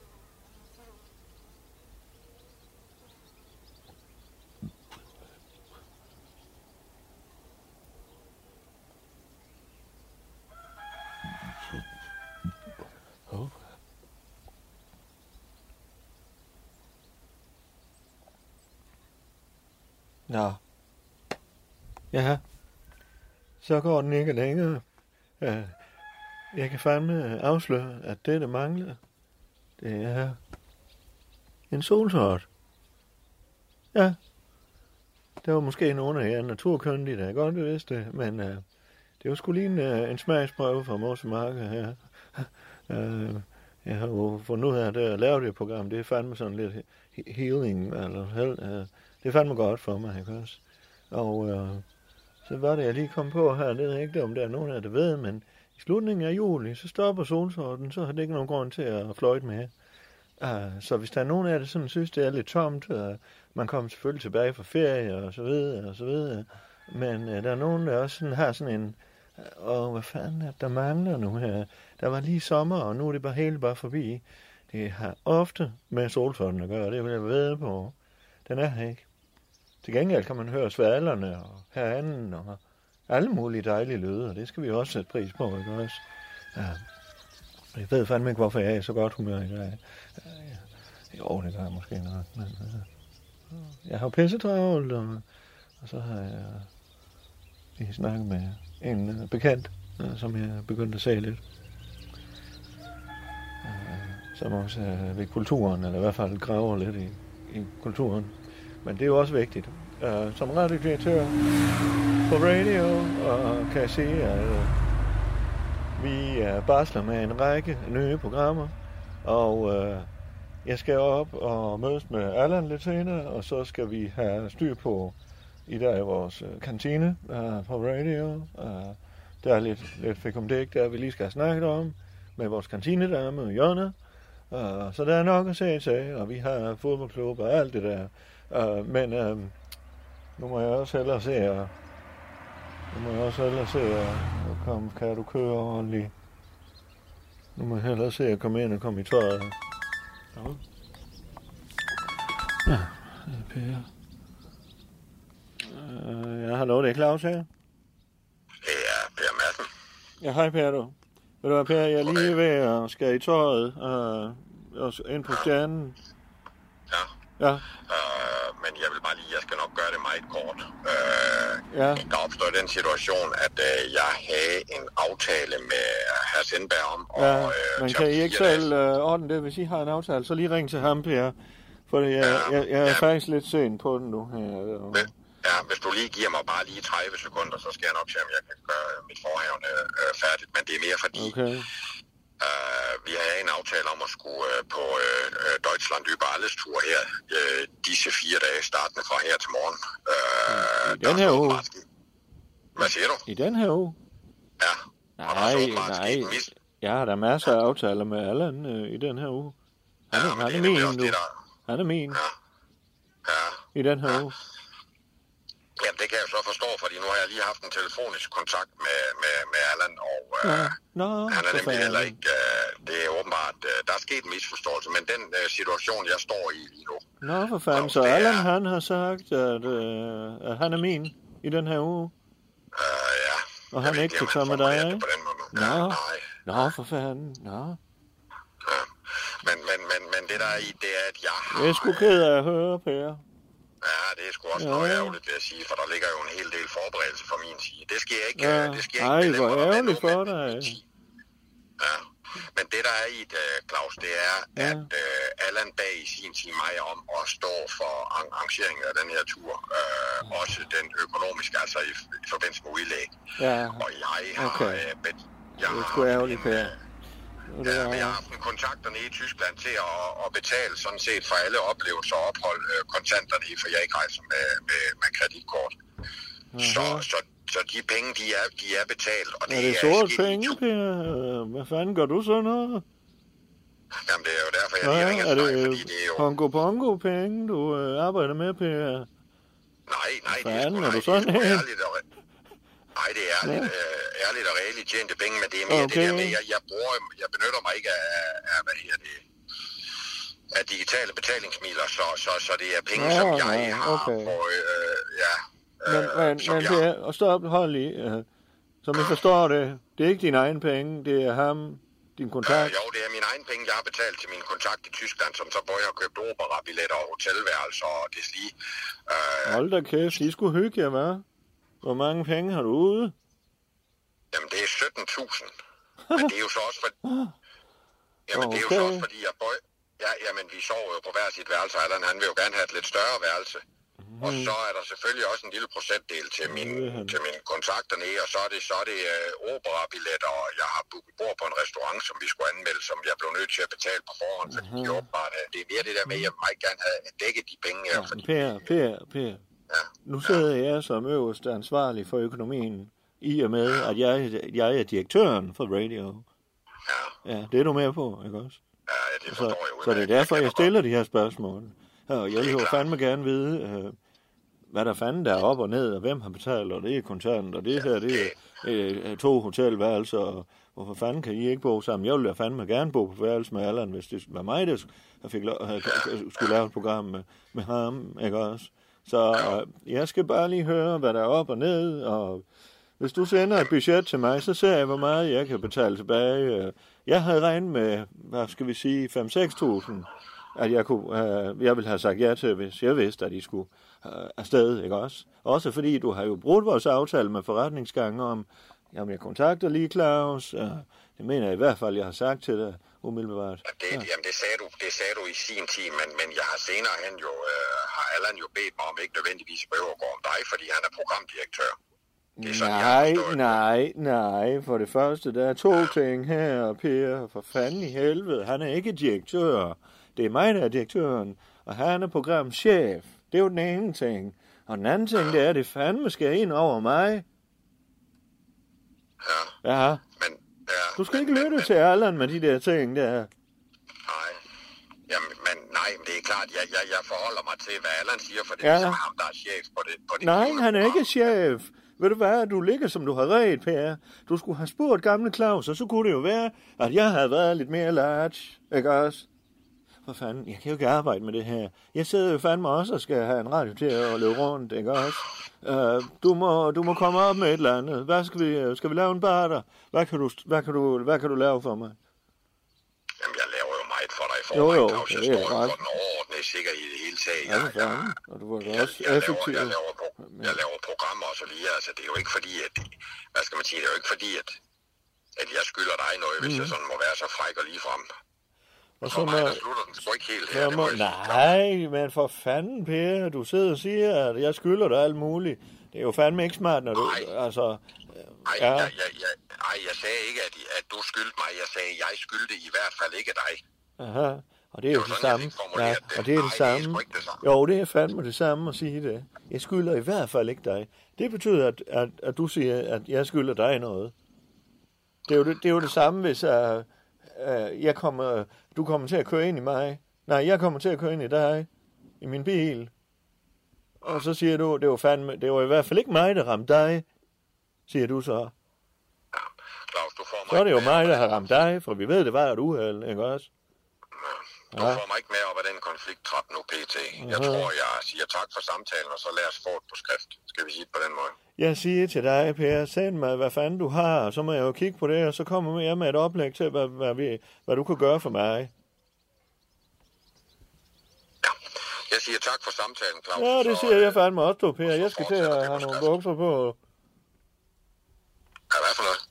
Speaker 2: Hov. Nå. Ja. Så går den ikke længere. Øh, Jeg kan fandme øh, afsløre, at det, der mangler, det er en solsort. Ja. Der var måske nogen af jer naturkyndige, der godt vidste det, men øh, det var sgu lige en, øh, en smagsprøve fra Mors Marker her. Øh, jeg har jo fundet ud af, at det at lave det program, det er fandme sådan lidt he- healing, eller hel, øh, det er fandme godt for mig, ikke også? Og øh, så var det, jeg lige kom på her, det ved jeg ikke, om der er nogen af jer, der ved, men i slutningen af juli, så stopper solsorten, så har det ikke nogen grund til at fløjte med. Uh, så hvis der er nogen af jer, der sådan synes, det er lidt tomt, uh, man kommer selvfølgelig tilbage fra ferie og så videre og så videre, men uh, der er nogen, der også sådan, har sådan en, og hvad fanden er det, der mangler nu her? Der var lige sommer, og nu er det bare helt bare forbi. Det har ofte med solsorten at gøre, det vil jeg ved på. Den er her ikke. Til gengæld kan man høre svalerne og heranden og alle mulige dejlige lyde, og det skal vi også sætte pris på, ikke også? Ja. Jeg ved fandme ikke, hvorfor jeg er i så godt humør i dag. Ja, ja. Jo, det gør jeg måske nok, men... Ja. Jeg har pisse travlt, og, og så har jeg lige snakket med en øh, bekendt, øh, som jeg begyndte at se lidt. Øh, Som også er ved kulturen, eller i hvert fald graver lidt i, i kulturen. Men det er jo også vigtigt. Øh, Som radiodirektør på radio, og kan jeg sige, at øh, vi øh, barsler med en række nye programmer, og øh, jeg skal op og mødes med Allan lidt senere, og så skal vi have styr på i dag i vores øh, kantine øh, på radio. Øh, der er lidt, lidt fikumdik, der vi lige skal have snakket om med vores kantinedame Jonna. Øh, så der er nok at se til, og vi har fodboldklub og alt det der. Øh, men øh, nu må jeg også hellere se at nu må jeg også hellere se at at komme. Kan du køre ordentligt? Nu må jeg hellere se at komme ind og komme i tøjet. Ja, det er Per. Øh, ja, hallo, det er Claus her. Det er Per Madsen. Ja, hej Per, du. Ved du hvad, Per, jeg er lige ved at skære i tøjet øh, og s- ind på stjernen. Ja. Ja,
Speaker 14: Øh, men jeg vil bare lige, jeg skal nok gøre det meget kort. Øh,
Speaker 2: ja.
Speaker 14: der opstod den situation, at øh, jeg havde en aftale med herr Sindberg om,
Speaker 2: Ja, men kan I ikke selv øh, ordne det, hvis I har en aftale, så lige ring til ham, Per. For jeg, jeg, jeg er faktisk lidt sen på den nu her. Og,
Speaker 14: ja, hvis du lige giver mig bare lige 30 sekunder, så skal jeg nok se, om jeg kan gøre mit forhævne øh, færdigt. Men det er mere fordi,
Speaker 2: okay.
Speaker 14: øh, vi havde en aftale om at skulle øh, på øh, øh, Deutschland über alles tur her, øh, disse fire dage, startende fra her til morgen. Øh,
Speaker 2: I den her uge.
Speaker 14: hvad siger du?
Speaker 2: I den her uge? Ja. Nej, nej. Jeg har da masser af aftaler med Allan øh, i den her uge. Han, ja, han er min nu. Han er min. I den her uge.
Speaker 14: Jamen, det kan jeg så forstå, fordi nu har jeg lige haft en telefonisk kontakt med, med, med Allan, og øh,
Speaker 2: Ja. Nå,
Speaker 14: han er
Speaker 2: for
Speaker 14: nemlig
Speaker 2: fanden.
Speaker 14: heller ikke... Øh, det er åbenbart, øh, der er sket en misforståelse, men den øh, situation, jeg står i lige nu,
Speaker 2: Nå, for fanden. Så Allan, han har sagt, at, øh, at han er min i den her uge.
Speaker 14: Øh,
Speaker 2: ja. Og han ikke kan tage med dig, ikke? Nå, Nå, for fanden. Nå.
Speaker 14: men, men, men, men det der er i, det er, at jeg har...
Speaker 2: Jeg er sgu ked af at høre, Per.
Speaker 14: Ah. Ja, det er sgu også
Speaker 2: Ja.
Speaker 14: ja. noget ærgerligt, vil jeg sige, for der ligger jo en hel del forberedelse fra min side. Det skal jeg ikke...
Speaker 2: Ja.
Speaker 14: øh, Det skal jeg
Speaker 2: Ej,
Speaker 14: ikke
Speaker 2: hvor
Speaker 14: belemme dig med
Speaker 2: ærgerligt
Speaker 14: nu, men-
Speaker 2: for dig.
Speaker 14: Men det, der er i det, øh, Claus, det er,
Speaker 2: Ja.
Speaker 14: at øh, Allan bag i sin tid mig om at stå for arr- arrangeringen af den her tur. Øh, også den økonomiske, altså i, i forbindelse med udlæg.
Speaker 2: Ja.
Speaker 14: Og jeg har...
Speaker 2: Okay.
Speaker 14: Øh, bet-
Speaker 2: Det er sgu ærgerligt, Per.
Speaker 15: Det er-
Speaker 14: Øh, men jeg har haft kontakterne i Tyskland til at, at betale sådan set for alle oplevelser og ophold øh, kontanterne i, for jeg ikke rejser med, med, med kreditkort.
Speaker 2: Mhm.
Speaker 14: Så, så, så de penge, de er, de er betalt, og det,
Speaker 2: Er det
Speaker 14: er
Speaker 2: sorte penge, Per? Hvad fanden gør du så noget?
Speaker 14: Jamen, det er jo derfor, jeg
Speaker 2: Nå
Speaker 14: lige
Speaker 2: ja,
Speaker 14: ringer
Speaker 2: er
Speaker 14: til dig, fordi
Speaker 2: det
Speaker 14: det er jo...
Speaker 2: Pongo Pongo penge, du øh, arbejder med, Per?
Speaker 14: Nej, nej, det er sgu,
Speaker 2: Fanden, er
Speaker 14: nej,
Speaker 2: du
Speaker 14: det er
Speaker 2: sådan
Speaker 14: sgu
Speaker 2: en?
Speaker 14: ærligt og... re- Nej, det er ærligt,
Speaker 2: Ja.
Speaker 14: øh, ærligt og reelt tjente penge, men det er mere okay. det
Speaker 2: Okay.
Speaker 14: der med, jeg, jeg bruger, jeg benytter mig ikke af, af hvad hedder det, af digitale betalingsmidler, så, så, så det er penge,
Speaker 2: Nå,
Speaker 14: som jeg
Speaker 2: nå,
Speaker 14: har
Speaker 2: okay.
Speaker 14: på, øh, ja,
Speaker 2: Men, men,
Speaker 14: som
Speaker 2: men
Speaker 14: jeg-
Speaker 2: det er, og stop, hold lige. Øh, som jeg forstår det, det er ikke dine egne penge, det er ham, din kontakt.
Speaker 14: Øh, jo, det er mine egne penge, jeg har betalt til min kontakt i Tyskland, som så både har købt operabilletter og hotelværelser og deslige.
Speaker 2: Hold da kæft, I skulle hygge jer, hva'? Hvor mange penge har du ude?
Speaker 14: Jamen, det er 17.000. Men det er jo så også, for, jamen, det er jo så også fordi, jeg bøj... Ja, jamen, vi sover jo på hver sit værelse, og Allan, han vil jo gerne have et lidt større værelse. Mm. Og så er der selvfølgelig også en lille procentdel til min, til min kontakter nede, og så er det, så er det øh, operabilletter, og jeg har booket bord på en restaurant, som vi skulle anmelde, som jeg blev nødt til at betale på forhånd, fordi mm. det, er åbenbart, øh, det er mere det der med, at jeg vil meget gerne have dækket de penge her, fordi
Speaker 2: Per, Per, Per. Nu sidder jeg som øverste ansvarlig for økonomien, i og med, at jeg, jeg er direktøren for radio. Ja. ja, det er du med på, ikke også?
Speaker 14: Ja, det
Speaker 2: så, så det er derfor, jeg stiller de her spørgsmål. Ja, og jeg vil jo fandme gerne vide, øh, hvad der fanden der er op og ned, og hvem har betalt, og det er kontant, og det her, det er øh, to hotelværelser, og hvorfor fanden kan I ikke bo sammen? Jeg ville da fandme gerne bo på værelse med Allan, hvis det var mig, der sk- jeg fik lov, øh, skulle lave et program med, med ham, ikke også? Så øh, jeg skal bare lige høre, hvad der er op og ned, og hvis du sender et budget til mig, så ser jeg, hvor meget jeg kan betale tilbage. Øh, Jeg havde regnet med, hvad skal vi sige, 5-6.000, at jeg, kunne, øh, jeg ville have sagt ja til, hvis jeg vidste, at I skulle øh, afsted, ikke også? Også fordi du har jo brudt vores aftale med forretningsgange om, jamen jeg kontakter lige Claus, øh, det mener jeg i hvert fald, jeg har sagt til dig umiddelbart.
Speaker 14: Det, ja. Jamen, det sagde, du, det sagde du i sin tid, men, men jeg har senere hen jo, øh, har Allan jo bedt mig om ikke nødvendigvis behøver at gå om dig, fordi han er programdirektør.
Speaker 2: Nej, nej, nej. For det første, der er to ting her, Per. For fanden i helvede, han er ikke direktør. Det er mig, der er direktøren, og han er programchef. Det er jo den ene ting. Og den anden ting, det er, at det fandme skal ind over mig. Ja. Ja. Du skal ikke lytte til Allan med de der ting der.
Speaker 14: Jamen, men nej, men det er klart, jeg, jeg, jeg forholder mig til, hvad Allan siger, for det
Speaker 2: Ja.
Speaker 14: er ligesom ham, der er chef på det. På det
Speaker 2: Nej, han er ikke chef. Ved du hvad, du ligger som du har ret, Per. Du skulle have spurgt gamle Claus, og så kunne det jo være, at jeg havde været lidt mere large, ikke også? For fanden, jeg kan jo ikke arbejde med det her. Jeg sidder jo fandme også og skal have en radio til at løbe rundt, ikke også? Uh, du, må, du må komme op med et eller andet. Hvad skal vi, skal vi lave en barter? Hvad kan du, hvad kan du, hvad kan du lave for mig?
Speaker 14: Jamen, jeg laver jo meget for dig i
Speaker 2: Jo,
Speaker 14: forvejen,
Speaker 2: jo,
Speaker 14: Claus. Jeg
Speaker 2: det er
Speaker 14: står jo
Speaker 2: ret.
Speaker 14: for den overordnede sikkerhed i det hele taget.
Speaker 2: Ja, for fanden. Og du var da også
Speaker 14: jeg, laver,
Speaker 2: effektiv.
Speaker 14: jeg, laver, pro- jeg laver programmer og så videre, altså det er jo ikke fordi, at, hvad skal man sige, det er jo ikke fordi, at, at jeg skylder dig noget, hvis
Speaker 2: Mhm.
Speaker 14: jeg sådan må være så fræk og ligefrem.
Speaker 2: Og så må,
Speaker 14: Slutter den sgu ikke helt her.
Speaker 2: Jeg må, nej, men for fanden, Per, du sidder og siger, at jeg skylder dig alt muligt. Det er jo fandme ikke smart, når du... Ej. Altså,
Speaker 14: Ej,
Speaker 2: Ja.
Speaker 14: ja. jeg, jeg, jeg, ej, jeg sagde ikke, at, at du skyldte mig. Jeg sagde, at jeg skyldte i hvert fald ikke dig.
Speaker 2: aha, og det er jo det samme. Ja, og det er det samme. Jo, det er fandme det samme at sige det. Jeg skylder i hvert fald ikke dig. Det betyder, at, at, at du siger, at jeg skylder dig noget. Det er jo det, det, er jo det samme, hvis uh, uh, jeg kommer, du kommer til at køre ind i mig. Nej, jeg kommer til at køre ind i dig. I min bil. Og så siger du, det var, fandme, det var i hvert fald ikke mig, der ramte dig, siger du så. Så er det jo mig, der har ramt dig, for vi ved, det var et uheld, ikke også?
Speaker 14: Du får mig ikke med op af den konflikttrap nu, PT. Jeg
Speaker 2: Mhm.
Speaker 14: tror, jeg siger tak for samtalen, og så lad os få det på skrift. Skal vi sige det på den måde?
Speaker 2: Jeg siger til dig, Per, send mig, hvad fanden du har, og så må jeg jo kigge på det, og så kommer jeg med et oplæg til, hvad, hvad, vi, hvad du kan gøre for mig.
Speaker 14: Jeg siger tak for samtalen, Claus. øh,
Speaker 2: Ja, det siger jeg fandme også, du, Per. Jeg skal til at have nogle bukser på.
Speaker 14: Ja, hvad for noget?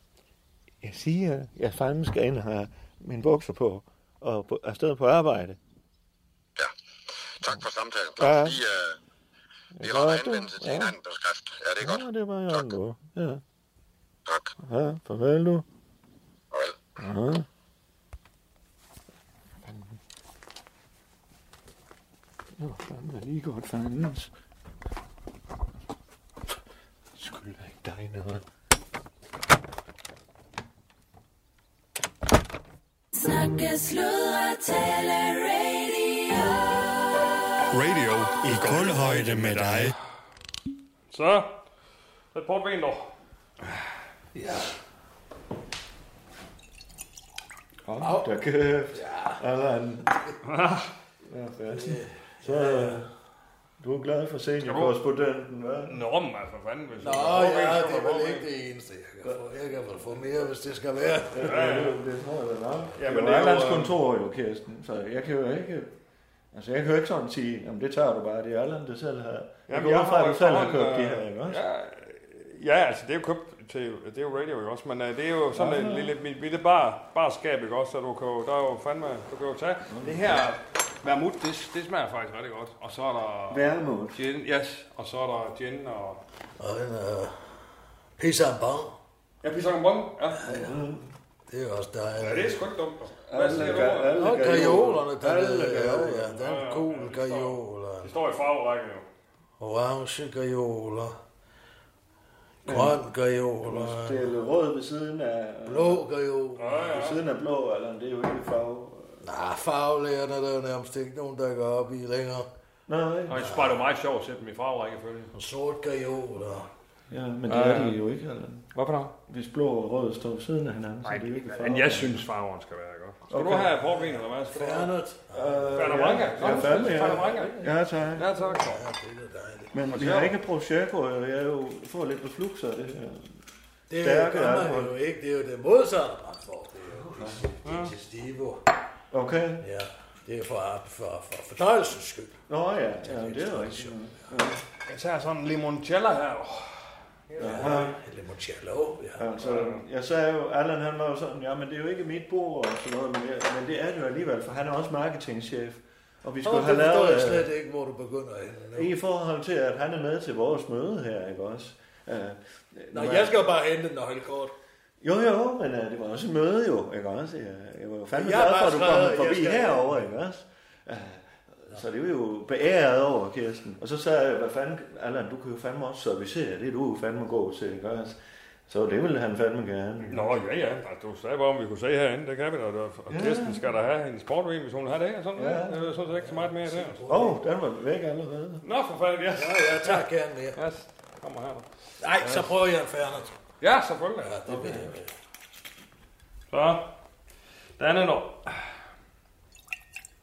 Speaker 2: Jeg siger, jeg fandme skal ind og have mine bukser på, og på, afsted på arbejde.
Speaker 14: Tak for samtalen,
Speaker 2: Ja.
Speaker 14: Claus. Vi, øh, vi
Speaker 2: Ja,
Speaker 14: har
Speaker 2: det-
Speaker 14: anvendelse til
Speaker 2: ja.
Speaker 14: hinanden på skrift. Ja, det er godt.
Speaker 2: Ja, det var jeg nu. Ja. Tak. Ja, farvel du. Farvel. Ja.
Speaker 16: Nå, fandme lige godt fandens.
Speaker 10: Skyld ikke dig noget.
Speaker 6: Snakke, sludre, tale, radio.
Speaker 7: Radio i kulhøjde med dig.
Speaker 9: Så, så portven dog.
Speaker 1: Ja.
Speaker 2: Hold da kæft. Allan. Ja, fanden. Så øh, du er glad for seniorkorrespondenten, hva'?
Speaker 9: Nå, men altså, for fanden. Hvis
Speaker 1: Nå,
Speaker 9: du får en,
Speaker 1: ja,
Speaker 9: så
Speaker 1: det
Speaker 9: får
Speaker 1: er
Speaker 9: du
Speaker 1: vel
Speaker 9: en.
Speaker 1: ikke det eneste, jeg kan få. Jeg kan vel få mere, hvis det skal være.
Speaker 2: Ja, ja, det- det tror jeg da nok.
Speaker 1: Ja,
Speaker 2: Ja,
Speaker 1: men
Speaker 2: men
Speaker 1: det
Speaker 2: det
Speaker 1: er
Speaker 2: er
Speaker 1: jo,
Speaker 2: Allands
Speaker 1: øh,
Speaker 2: kontor jo, Kirsten, så jeg kan jo ikke... Altså, jeg kan jo ikke sådan sige, jamen det tager du bare, det er Allan, der selv har... Jeg går ud fra, at du selv har øh, købt de her, ikke også?
Speaker 9: øh, Ja, ja, altså det er jo købt til, det er jo radio, ikke også? Men uh, det er jo sådan
Speaker 2: Nå,
Speaker 9: ja,
Speaker 2: nå.
Speaker 9: et lille, mit lille bar, barskab, ikke også? Så du kan jo, der er jo fandme, du kan jo tage det her vermut, det, det smager faktisk rigtig godt. Og så er der...
Speaker 2: Vermouth?
Speaker 9: Gin, yes. Og så er der gin og...
Speaker 1: Og en uh, pisse en bang.
Speaker 9: Ja, pisang bon. Ja. ja.
Speaker 1: Det er også dejligt.
Speaker 9: Ja, det er sgu ikke dumt. altså.
Speaker 1: Alle ga- alle Nå, gajolerne, gajolerne, der
Speaker 9: Alle
Speaker 1: ved jeg, ja,
Speaker 9: gajolerne.
Speaker 1: ja, der er en
Speaker 9: Ja, ja,
Speaker 1: gul
Speaker 9: ja, det står-
Speaker 1: gajoler.
Speaker 9: Det står i farverækken jo.
Speaker 1: Orange gajoler. Grøn gajoler.
Speaker 2: Det er rød ved siden af...
Speaker 1: Blå gajoler.
Speaker 2: Ved siden af blå, Allan, det er jo ikke farve.
Speaker 1: Nej, farvelærerne er der jo nærmest ikke nogen, der går op i længere.
Speaker 2: Nej.
Speaker 9: Og det er jo meget sjovt at sætte dem i farverækkefølge.
Speaker 1: Og sort gajoler.
Speaker 2: Ja, men det
Speaker 9: Ja,
Speaker 2: er
Speaker 9: ja.
Speaker 2: de jo ikke, Allan.
Speaker 9: Hvorfor da?
Speaker 2: Hvis blå og rød står ved siden af hinanden, så
Speaker 9: Nej,
Speaker 2: det er jo ikke farve.
Speaker 9: men jeg synes, farveren skal være godt. Skal okay. du
Speaker 2: Okay.
Speaker 9: have portvin, eller hvad? Skal du have?
Speaker 1: Fernet. Øh,
Speaker 9: Fernet
Speaker 2: ja.
Speaker 9: Branca.
Speaker 2: Øh, Ja, fandme, ja.
Speaker 9: Fernet Branca.
Speaker 2: Ja, tak.
Speaker 9: Ja, tak.
Speaker 2: Men vi har ikke prosjekter, og jeg er jo får lidt beflux af det her.
Speaker 1: Det
Speaker 2: Stærke
Speaker 1: gør man
Speaker 2: alkohol.
Speaker 1: jo ikke. Det er jo det modsatte, man får. Det er jo det er digestivo.
Speaker 2: Okay.
Speaker 1: Ja, det er for, for, for fordøjelsens skyld.
Speaker 2: Nå ja, ja det er rigtigt.
Speaker 9: Jeg tager sådan en limoncello her.
Speaker 2: Ja.
Speaker 1: Limoncello, ja.
Speaker 2: Altså, jeg sagde jo, Allan han var jo sådan, ja, men det er jo ikke mit bord og sådan noget, men, jeg, men det er det jo alligevel, for han er også marketingchef. Og vi skulle
Speaker 1: Åh,
Speaker 2: have
Speaker 1: det forstår
Speaker 2: lavet...
Speaker 1: jeg
Speaker 2: øh,
Speaker 1: slet ikke, hvor du begynder henne. nu.
Speaker 2: I forhold til, at han er med til vores møde her, ikke også? Uh,
Speaker 1: Nå, jeg skal jo bare hente et nøglekort.
Speaker 2: Jo, jo, men uh, det var også et møde jo, ikke også? Jeg, jeg var jo fandme
Speaker 1: Jeg
Speaker 2: jeg
Speaker 1: har
Speaker 2: glad for,
Speaker 1: bare
Speaker 2: at du
Speaker 1: skrevet,
Speaker 2: kom
Speaker 1: jeg
Speaker 2: forbi
Speaker 1: skal-
Speaker 2: herover, ikke også? Uh, så det er vi jo beæret over, Kirsten. Og så sagde jeg, hvad fanden, Allan, du kan jo fandme også servicere, det er du jo fandme god til, ikke også? Så det ville han fandme gerne.
Speaker 9: Nå, ja, ja. Altså, du sagde bare, om vi kunne se herinde. Det kan vi da. Og
Speaker 2: Ja.
Speaker 9: Kirsten skal da have hendes portvin, hvis hun har det. Og sådan
Speaker 2: Ja.
Speaker 9: ja. noget. Jeg synes ikke så meget mere der.
Speaker 2: Åh, oh, den var væk allerede.
Speaker 9: Nå, for fanden, yes.
Speaker 1: Ja, jeg tager gerne mere.
Speaker 9: Yes. Kommer her.
Speaker 1: Nej, så prøver jeg en Fernet.
Speaker 9: Ja, selvfølgelig. Ja,
Speaker 1: det vil jeg.
Speaker 9: Så. Der er noget.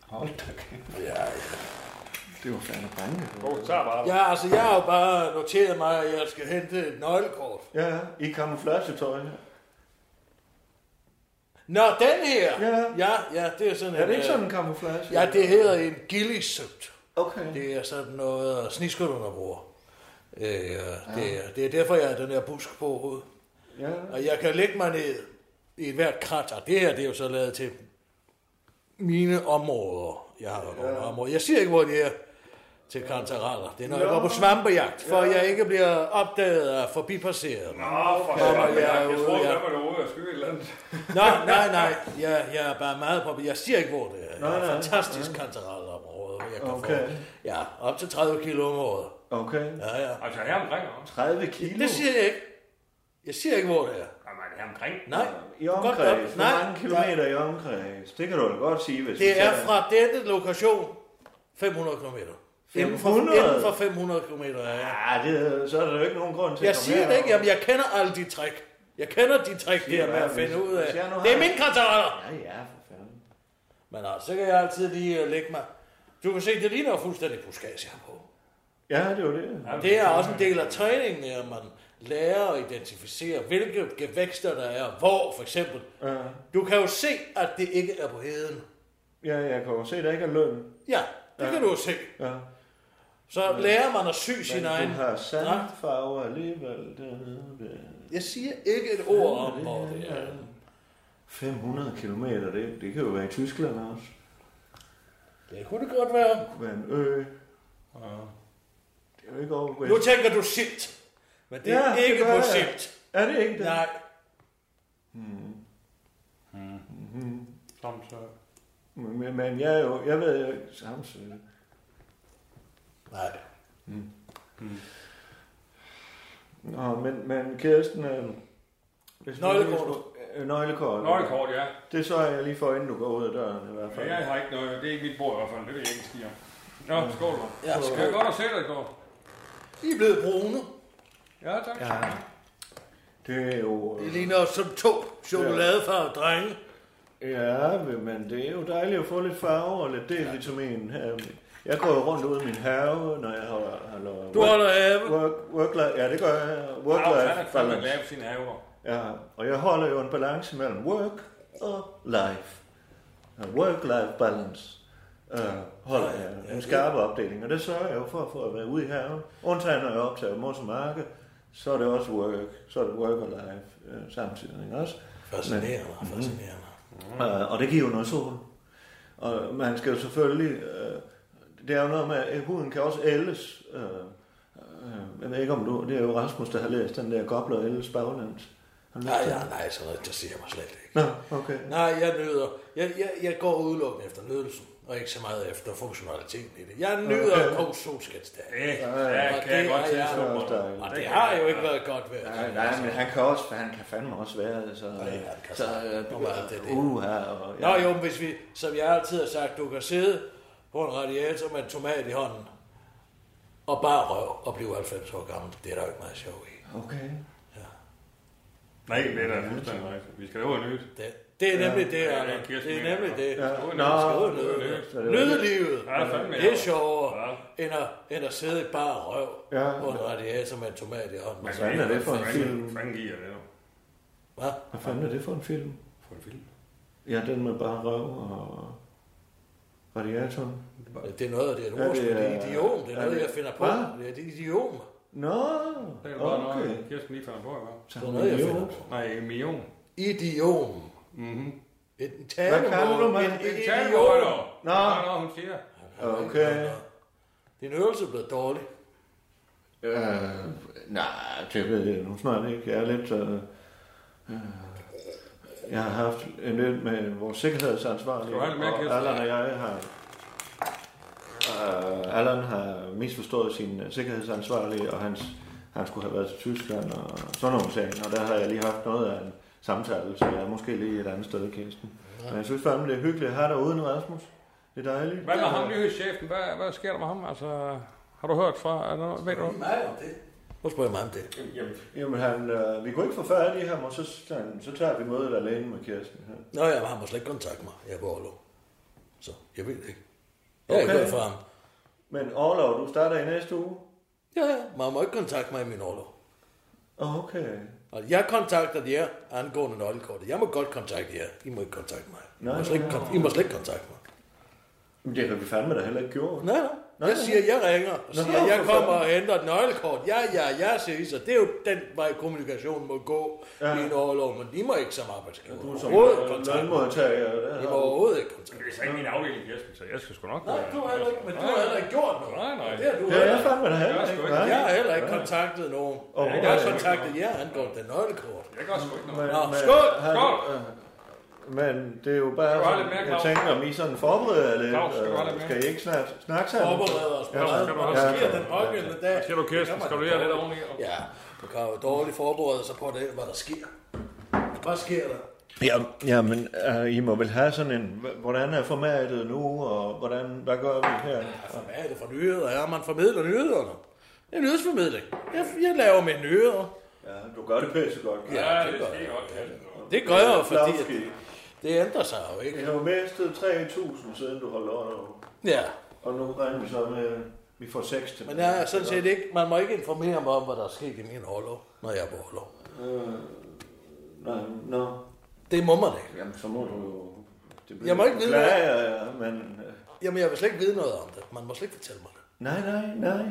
Speaker 2: Hold da kæft.
Speaker 1: Ja, ja.
Speaker 2: Det var fandme bange.
Speaker 9: Du tager bare.
Speaker 1: Ja, altså, jeg har jo bare noteret mig, at jeg skal hente et nøglekort.
Speaker 2: Ja, i kamuflagetøj.
Speaker 1: Nå, den her! Ja, ja, ja det er sådan
Speaker 2: Er det ikke
Speaker 1: øh,
Speaker 2: sådan en kamuflage?
Speaker 1: Ja, det hedder en gillisøbt.
Speaker 2: Okay.
Speaker 1: Det er sådan noget, øh, sniskytterne bruger. Øh, det, er, det er derfor, jeg har den her busk på hovedet.
Speaker 2: Ja.
Speaker 1: Og jeg kan lægge mig ned i et hvert kratter. Det her, det er jo så lavet til mine områder. Jeg har jo nogle områder. Jeg siger ikke, hvor det er til kantaraller. Det er, når jeg
Speaker 2: Nå.
Speaker 1: går på svampejagt, for jeg ikke bliver opdaget og forbipasserede.
Speaker 9: Nå, for
Speaker 1: Kommer
Speaker 9: fanden.
Speaker 1: jeg
Speaker 9: Jeg, jeg
Speaker 1: ud,
Speaker 9: tror,
Speaker 1: ja.
Speaker 9: at man er ude og skyde et eller andet.
Speaker 1: Nej, nej, nej. Jeg, jeg er bare meget på. Jeg siger ikke, hvor det er.
Speaker 2: Nej,
Speaker 1: Jeg er
Speaker 2: nej.
Speaker 1: fantastisk kantarelleområde, hvor jeg kan
Speaker 2: Okay.
Speaker 1: få. Ja, op til 30 kilo om året.
Speaker 2: Okay.
Speaker 1: Ja, ja.
Speaker 9: Altså, her omkring også.
Speaker 2: 30 kilo?
Speaker 1: Det siger jeg ikke. Jeg siger ikke, hvor det er.
Speaker 9: Jamen, er det her omkring?
Speaker 1: Nej.
Speaker 2: I
Speaker 1: Godt
Speaker 2: omkreds.
Speaker 1: nok.
Speaker 2: Hvor
Speaker 1: Nej,
Speaker 2: mange kilometer i omkreds? Det kan du da godt sige, hvis vi
Speaker 1: Det er
Speaker 2: tager-
Speaker 1: fra denne lokation 500 km. Inden for,
Speaker 2: 500?
Speaker 1: inden for 500 km, ja.
Speaker 2: Ja, det, Øh, så er der jo ikke nogen grund til
Speaker 1: Jeg
Speaker 2: at komme
Speaker 1: siger det
Speaker 2: herover.
Speaker 1: ikke. Jamen, jeg kender alle de trick. Jeg kender de trick,
Speaker 2: Siger
Speaker 1: der med
Speaker 2: hvad,
Speaker 1: at finde
Speaker 2: hvis-
Speaker 1: ud af.
Speaker 2: hvis jeg nu
Speaker 1: Det er
Speaker 2: har-
Speaker 1: min kantareller.
Speaker 2: Ja, ja, for fanden.
Speaker 1: Men altså, så kan jeg altid lige øh, lægge mig. Du kan se, det ligner jo fuldstændig buskage, jeg har på.
Speaker 2: Ja, det er jo det.
Speaker 1: Og Det er også en del af træningen, at man lærer at identificere, hvilke gevækster der er, hvor for eksempel.
Speaker 2: Ja,
Speaker 1: Du kan jo se, at det ikke er på heden.
Speaker 2: ja jeg kan jo se, der ikke er løn.
Speaker 1: Ja, det
Speaker 2: Ja.
Speaker 1: kan du jo se.
Speaker 2: Ja.
Speaker 1: Så lærer man at sy sin
Speaker 2: Men
Speaker 1: egen...
Speaker 2: du har
Speaker 1: Nej,
Speaker 2: sandfarver alligevel. dernede ved-
Speaker 1: Jeg siger ikke et ord om, hvor det er.
Speaker 2: 500 kilometer, det, det kan jo være i Tyskland også.
Speaker 1: Det kunne det godt være.
Speaker 2: Det kunne være en ø. Det er jo ikke over
Speaker 1: Nu tænker du silt. Men det
Speaker 2: Ja,
Speaker 1: er
Speaker 2: det
Speaker 1: ikke
Speaker 2: gør
Speaker 1: på
Speaker 2: jeg.
Speaker 1: silt.
Speaker 2: Er det ikke det?
Speaker 1: Nej.
Speaker 9: Mm-hmm.
Speaker 2: Men, men jeg, er jo, jeg ved jo ikke, Samsø.
Speaker 8: Nej.
Speaker 2: Mm. Mm. Nå, men, men Kirsten... Øh, hvis nu-
Speaker 9: Nøglekort.
Speaker 2: Øh, nøglekort.
Speaker 9: Nøglekort, ja.
Speaker 2: Det så jeg lige for, inden du går ud af døren i hvert fald.
Speaker 9: Ja, jeg har ikke noget. Det er ikke mit bord i hvert fald. Det vil jeg ikke stige. Nå,
Speaker 2: Ja.
Speaker 9: skål.
Speaker 2: Ja,
Speaker 9: Ja, skål.
Speaker 2: skål.
Speaker 9: Det er godt at se dig i går.
Speaker 1: I er blevet brune.
Speaker 9: Ja, tak.
Speaker 2: Ja. Det er jo... øh,
Speaker 1: I ligner som to chokoladefarvede drenge.
Speaker 2: Ja, men det er jo dejligt at få lidt farve og lidt D-vitamin. her. Jeg går jo rundt ude i min have, når jeg har... har
Speaker 1: Du holder have?
Speaker 2: Work, work, life, ja, det gør jeg. Work
Speaker 9: Claus,
Speaker 2: life
Speaker 9: han er fandme glad for sine haver.
Speaker 2: Ja, og jeg holder jo en balance mellem work og life. Ja, Work-life balance øh, holder jeg. En skarp opdeling, og det sørger jeg jo for, for at være ude i haven. Undtagen når jeg optager mors og marke, så er det også work. Så er det work og life øh, samtidig ikke også.
Speaker 1: Fascinerende,
Speaker 2: Men- Mhm.
Speaker 1: fascinerende.
Speaker 2: Øh, Mm. og det giver jo noget sol. Og man skal jo selvfølgelig... Øh, det er jo noget med, at huden kan også ældes. Øh, øh, jeg ved ikke om du... Det er jo Rasmus, der har læst den der Gobler ældes baglæns. Har du læst
Speaker 1: Nej,
Speaker 2: den?
Speaker 1: nej, nej, sådan noget, det siger mig slet ikke.
Speaker 2: Nå, okay.
Speaker 1: Nej, jeg nyder. Jeg, jeg, jeg går udelukkende efter nydelsen, og ikke så meget efter funktionaliteten i det. Jeg nyder
Speaker 2: Okay.
Speaker 1: okay. kog solskætsdag.
Speaker 9: Det ja, kan jeg godt tilstå.
Speaker 1: Og det har jo ikke været godt vejr.
Speaker 2: Nej, nej,
Speaker 1: altså.
Speaker 2: men han kan også, han kan fandme også være, så... Nej, han kan så, øh, uh, og,
Speaker 1: Nå jo, men hvis vi, som jeg altid har sagt, du kan sidde på en radiator med en tomat i hånden, og bare røv og blive 90 år gammel. Det er der jo ikke meget sjov i.
Speaker 2: Okay.
Speaker 9: Nej, det er da fuldstændig rigtigt. Vi skal jo have nyt.
Speaker 1: Det, det er nemlig det,
Speaker 9: Ja,
Speaker 1: Arne.
Speaker 9: Kirsten
Speaker 1: Det er
Speaker 9: mener.
Speaker 1: nemlig det.
Speaker 9: Ja.
Speaker 1: Nå,
Speaker 9: Nå,
Speaker 1: Nå,
Speaker 9: det er
Speaker 1: nyde
Speaker 9: det.
Speaker 1: det. Nyde livet.
Speaker 9: Ja, fandme,
Speaker 1: Det
Speaker 9: ja.
Speaker 1: er sjovere, end at, end at sidde i bare røv
Speaker 2: Ja.
Speaker 1: på en radiator med en tomat i hånden.
Speaker 9: Hvad
Speaker 1: Så-
Speaker 9: fanden er det for en
Speaker 2: film?
Speaker 9: Hvordan giver det nu?
Speaker 1: Hvad?
Speaker 2: Hvad fanden er det for en film?
Speaker 9: For en film?
Speaker 2: Ja, den med bare røv og radiatoren.
Speaker 1: Det er noget af det, er et
Speaker 2: Er
Speaker 1: ordspil.
Speaker 2: det,
Speaker 1: Det er et
Speaker 2: øh,
Speaker 1: idiom. Det
Speaker 2: er
Speaker 1: er noget,
Speaker 2: det-
Speaker 1: jeg finder på.
Speaker 2: Hvad?
Speaker 1: Det er et idiom.
Speaker 2: Nå,
Speaker 9: Det er bare
Speaker 2: okay.
Speaker 9: noget, Kirsten lige fandt på, ikke?
Speaker 2: Så Det er noget, jeg million. finder
Speaker 9: Nej, en million.
Speaker 1: Idiom.
Speaker 9: Mhm.
Speaker 1: Et
Speaker 9: Hvad kalder du
Speaker 1: talemål.
Speaker 9: mig?
Speaker 1: En
Speaker 9: Et
Speaker 1: idiom.
Speaker 9: talemål, dog. Nå. Det er noget, hun siger.
Speaker 2: Okay.
Speaker 1: Din øvelse er blevet dårlig.
Speaker 2: Øh, nej, det ved jeg nu snart ikke. Jeg er lidt... Øh, øh, jeg har haft en lidt med vores sikkerhedsansvarlige,
Speaker 9: Skal du have lidt mere, Kirsten?
Speaker 2: og Allan og jeg har... Øh, Allan har misforstået sin øh, sikkerhedsansvarlige, og hans, han skulle have været til Tyskland og sådan nogle ting, og der har jeg lige haft noget af en samtale, så jeg er måske lige et andet sted, Kirsten. Men jeg synes fandme, det er hyggeligt at have dig uden Rasmus. Det er dejligt.
Speaker 9: Hvad med ham, nyhedschefen? Hvad, hvad sker der med ham? Altså, har du hørt fra? Er der noget, ved du?
Speaker 1: Nej, om det. Nu spørger jeg mig om det.
Speaker 9: Jamen,
Speaker 2: Jamen, han, øh, vi kunne ikke få fat i ham, og så, så, så tager vi mødet alene med Kirsten. Her.
Speaker 1: Nå, jeg har må slet ikke kontakte mig. Jeg er på Orlov. Så jeg ved det ikke. Jeg har ikke
Speaker 2: Okay.
Speaker 1: hørt fra ham.
Speaker 2: Men Orlov, du starter i næste uge?
Speaker 1: Ja, ja. Man må ikke kontakte mig i min Orlov.
Speaker 2: Okay.
Speaker 1: Og jeg kontakter jer angående nøglekortet. Jeg må godt kontakte jer. I må ikke kontakte mig. I
Speaker 2: Nej,
Speaker 1: må slet ikke,
Speaker 2: nej,
Speaker 1: kon-
Speaker 2: nej.
Speaker 1: I må slet ikke kontakte mig.
Speaker 2: Men det har vi fandme da heller ikke gjort.
Speaker 1: Nej, nej. Jeg siger, jeg ringer og
Speaker 2: Nå,
Speaker 1: siger, jeg
Speaker 2: for
Speaker 1: kommer og
Speaker 2: fanden.
Speaker 1: henter et nøglekort. Ja, ja, ja, siger I så. Det er jo den vej, kommunikationen må gå ja. i en overlov, men I må ikke som arbejdsgiver. Du
Speaker 2: som
Speaker 9: øh,
Speaker 2: lønmodtager, der
Speaker 1: I
Speaker 2: har
Speaker 1: må
Speaker 2: du-
Speaker 1: overhovedet ikke kontakte.
Speaker 9: Det er så ikke min afdeling, Kirsten, så jeg skal sgu nok...
Speaker 1: Nej, du har heller ikke, men du har heller ikke gjort noget.
Speaker 9: Nej, nej.
Speaker 1: Det har du
Speaker 9: Det har
Speaker 1: heller
Speaker 9: jeg
Speaker 1: ikke.
Speaker 9: fandme da heller
Speaker 1: Jeg har
Speaker 9: ikke.
Speaker 1: sgu Jeg har heller ikke
Speaker 9: Nej.
Speaker 1: kontaktet nogen.
Speaker 9: Og
Speaker 1: Jeg
Speaker 9: hvor-
Speaker 1: har kontaktet jer angående den nøglekort.
Speaker 9: Jeg gør sgu ikke
Speaker 1: noget. Nå,
Speaker 2: men-
Speaker 1: skål!
Speaker 2: han-
Speaker 1: Skål!
Speaker 2: øh, Men det er jo bare,
Speaker 1: Skal du have
Speaker 2: sådan,
Speaker 1: lidt mere,
Speaker 2: jeg
Speaker 1: Claus?
Speaker 2: tænker, om I sådan forbereder jer lidt.
Speaker 1: Claus, skal du have
Speaker 2: øh,
Speaker 1: lidt mere?
Speaker 2: skal I ikke snart snakke sammen?
Speaker 1: Forbereder os på
Speaker 2: Ja,
Speaker 1: hvad
Speaker 2: ja,
Speaker 1: der sker
Speaker 2: ja.
Speaker 1: den pågældende dag.
Speaker 9: Siger du, Kirsten,
Speaker 1: Det kan man
Speaker 9: skal du
Speaker 1: da
Speaker 9: lige have lidt
Speaker 1: dårligt.
Speaker 9: oveni?
Speaker 1: Ja, du kan jo dårligt forberede sig på det, hvad der sker. Hvad sker der?
Speaker 2: Ja, ja men øh, I må vel have sådan en, h- hvordan er formatet nu, og hvordan, hvad gør vi her?
Speaker 1: Hvad er det for nyheder? Er man formidler nyhederne? Det er nyhedsformidling. Jeg, jeg laver mine nyheder.
Speaker 2: Ja, du gør det pisse godt.
Speaker 1: Ja, det gør jeg. Det gør jeg jo, fordi at det ændrer sig jo ikke.
Speaker 2: Jeg har jo mistet 3.000 siden du holdt over.
Speaker 1: Ja.
Speaker 2: Og nu regner vi så med, at vi får 6 til.
Speaker 1: Men jeg er sådan set ikke, man må ikke informere mig om, hvad der er sket i min orlov, når jeg er på orlov.
Speaker 2: Øh, nej, nå.
Speaker 1: Det må man ikke.
Speaker 2: Jamen, så må du jo... Det
Speaker 1: Jeg må ikke vide
Speaker 2: det.
Speaker 1: det.
Speaker 2: Ja, ja, men... øh,
Speaker 1: Jamen, jeg vil slet ikke vide noget om det. Man må slet ikke fortælle mig det.
Speaker 2: Nej, nej, nej.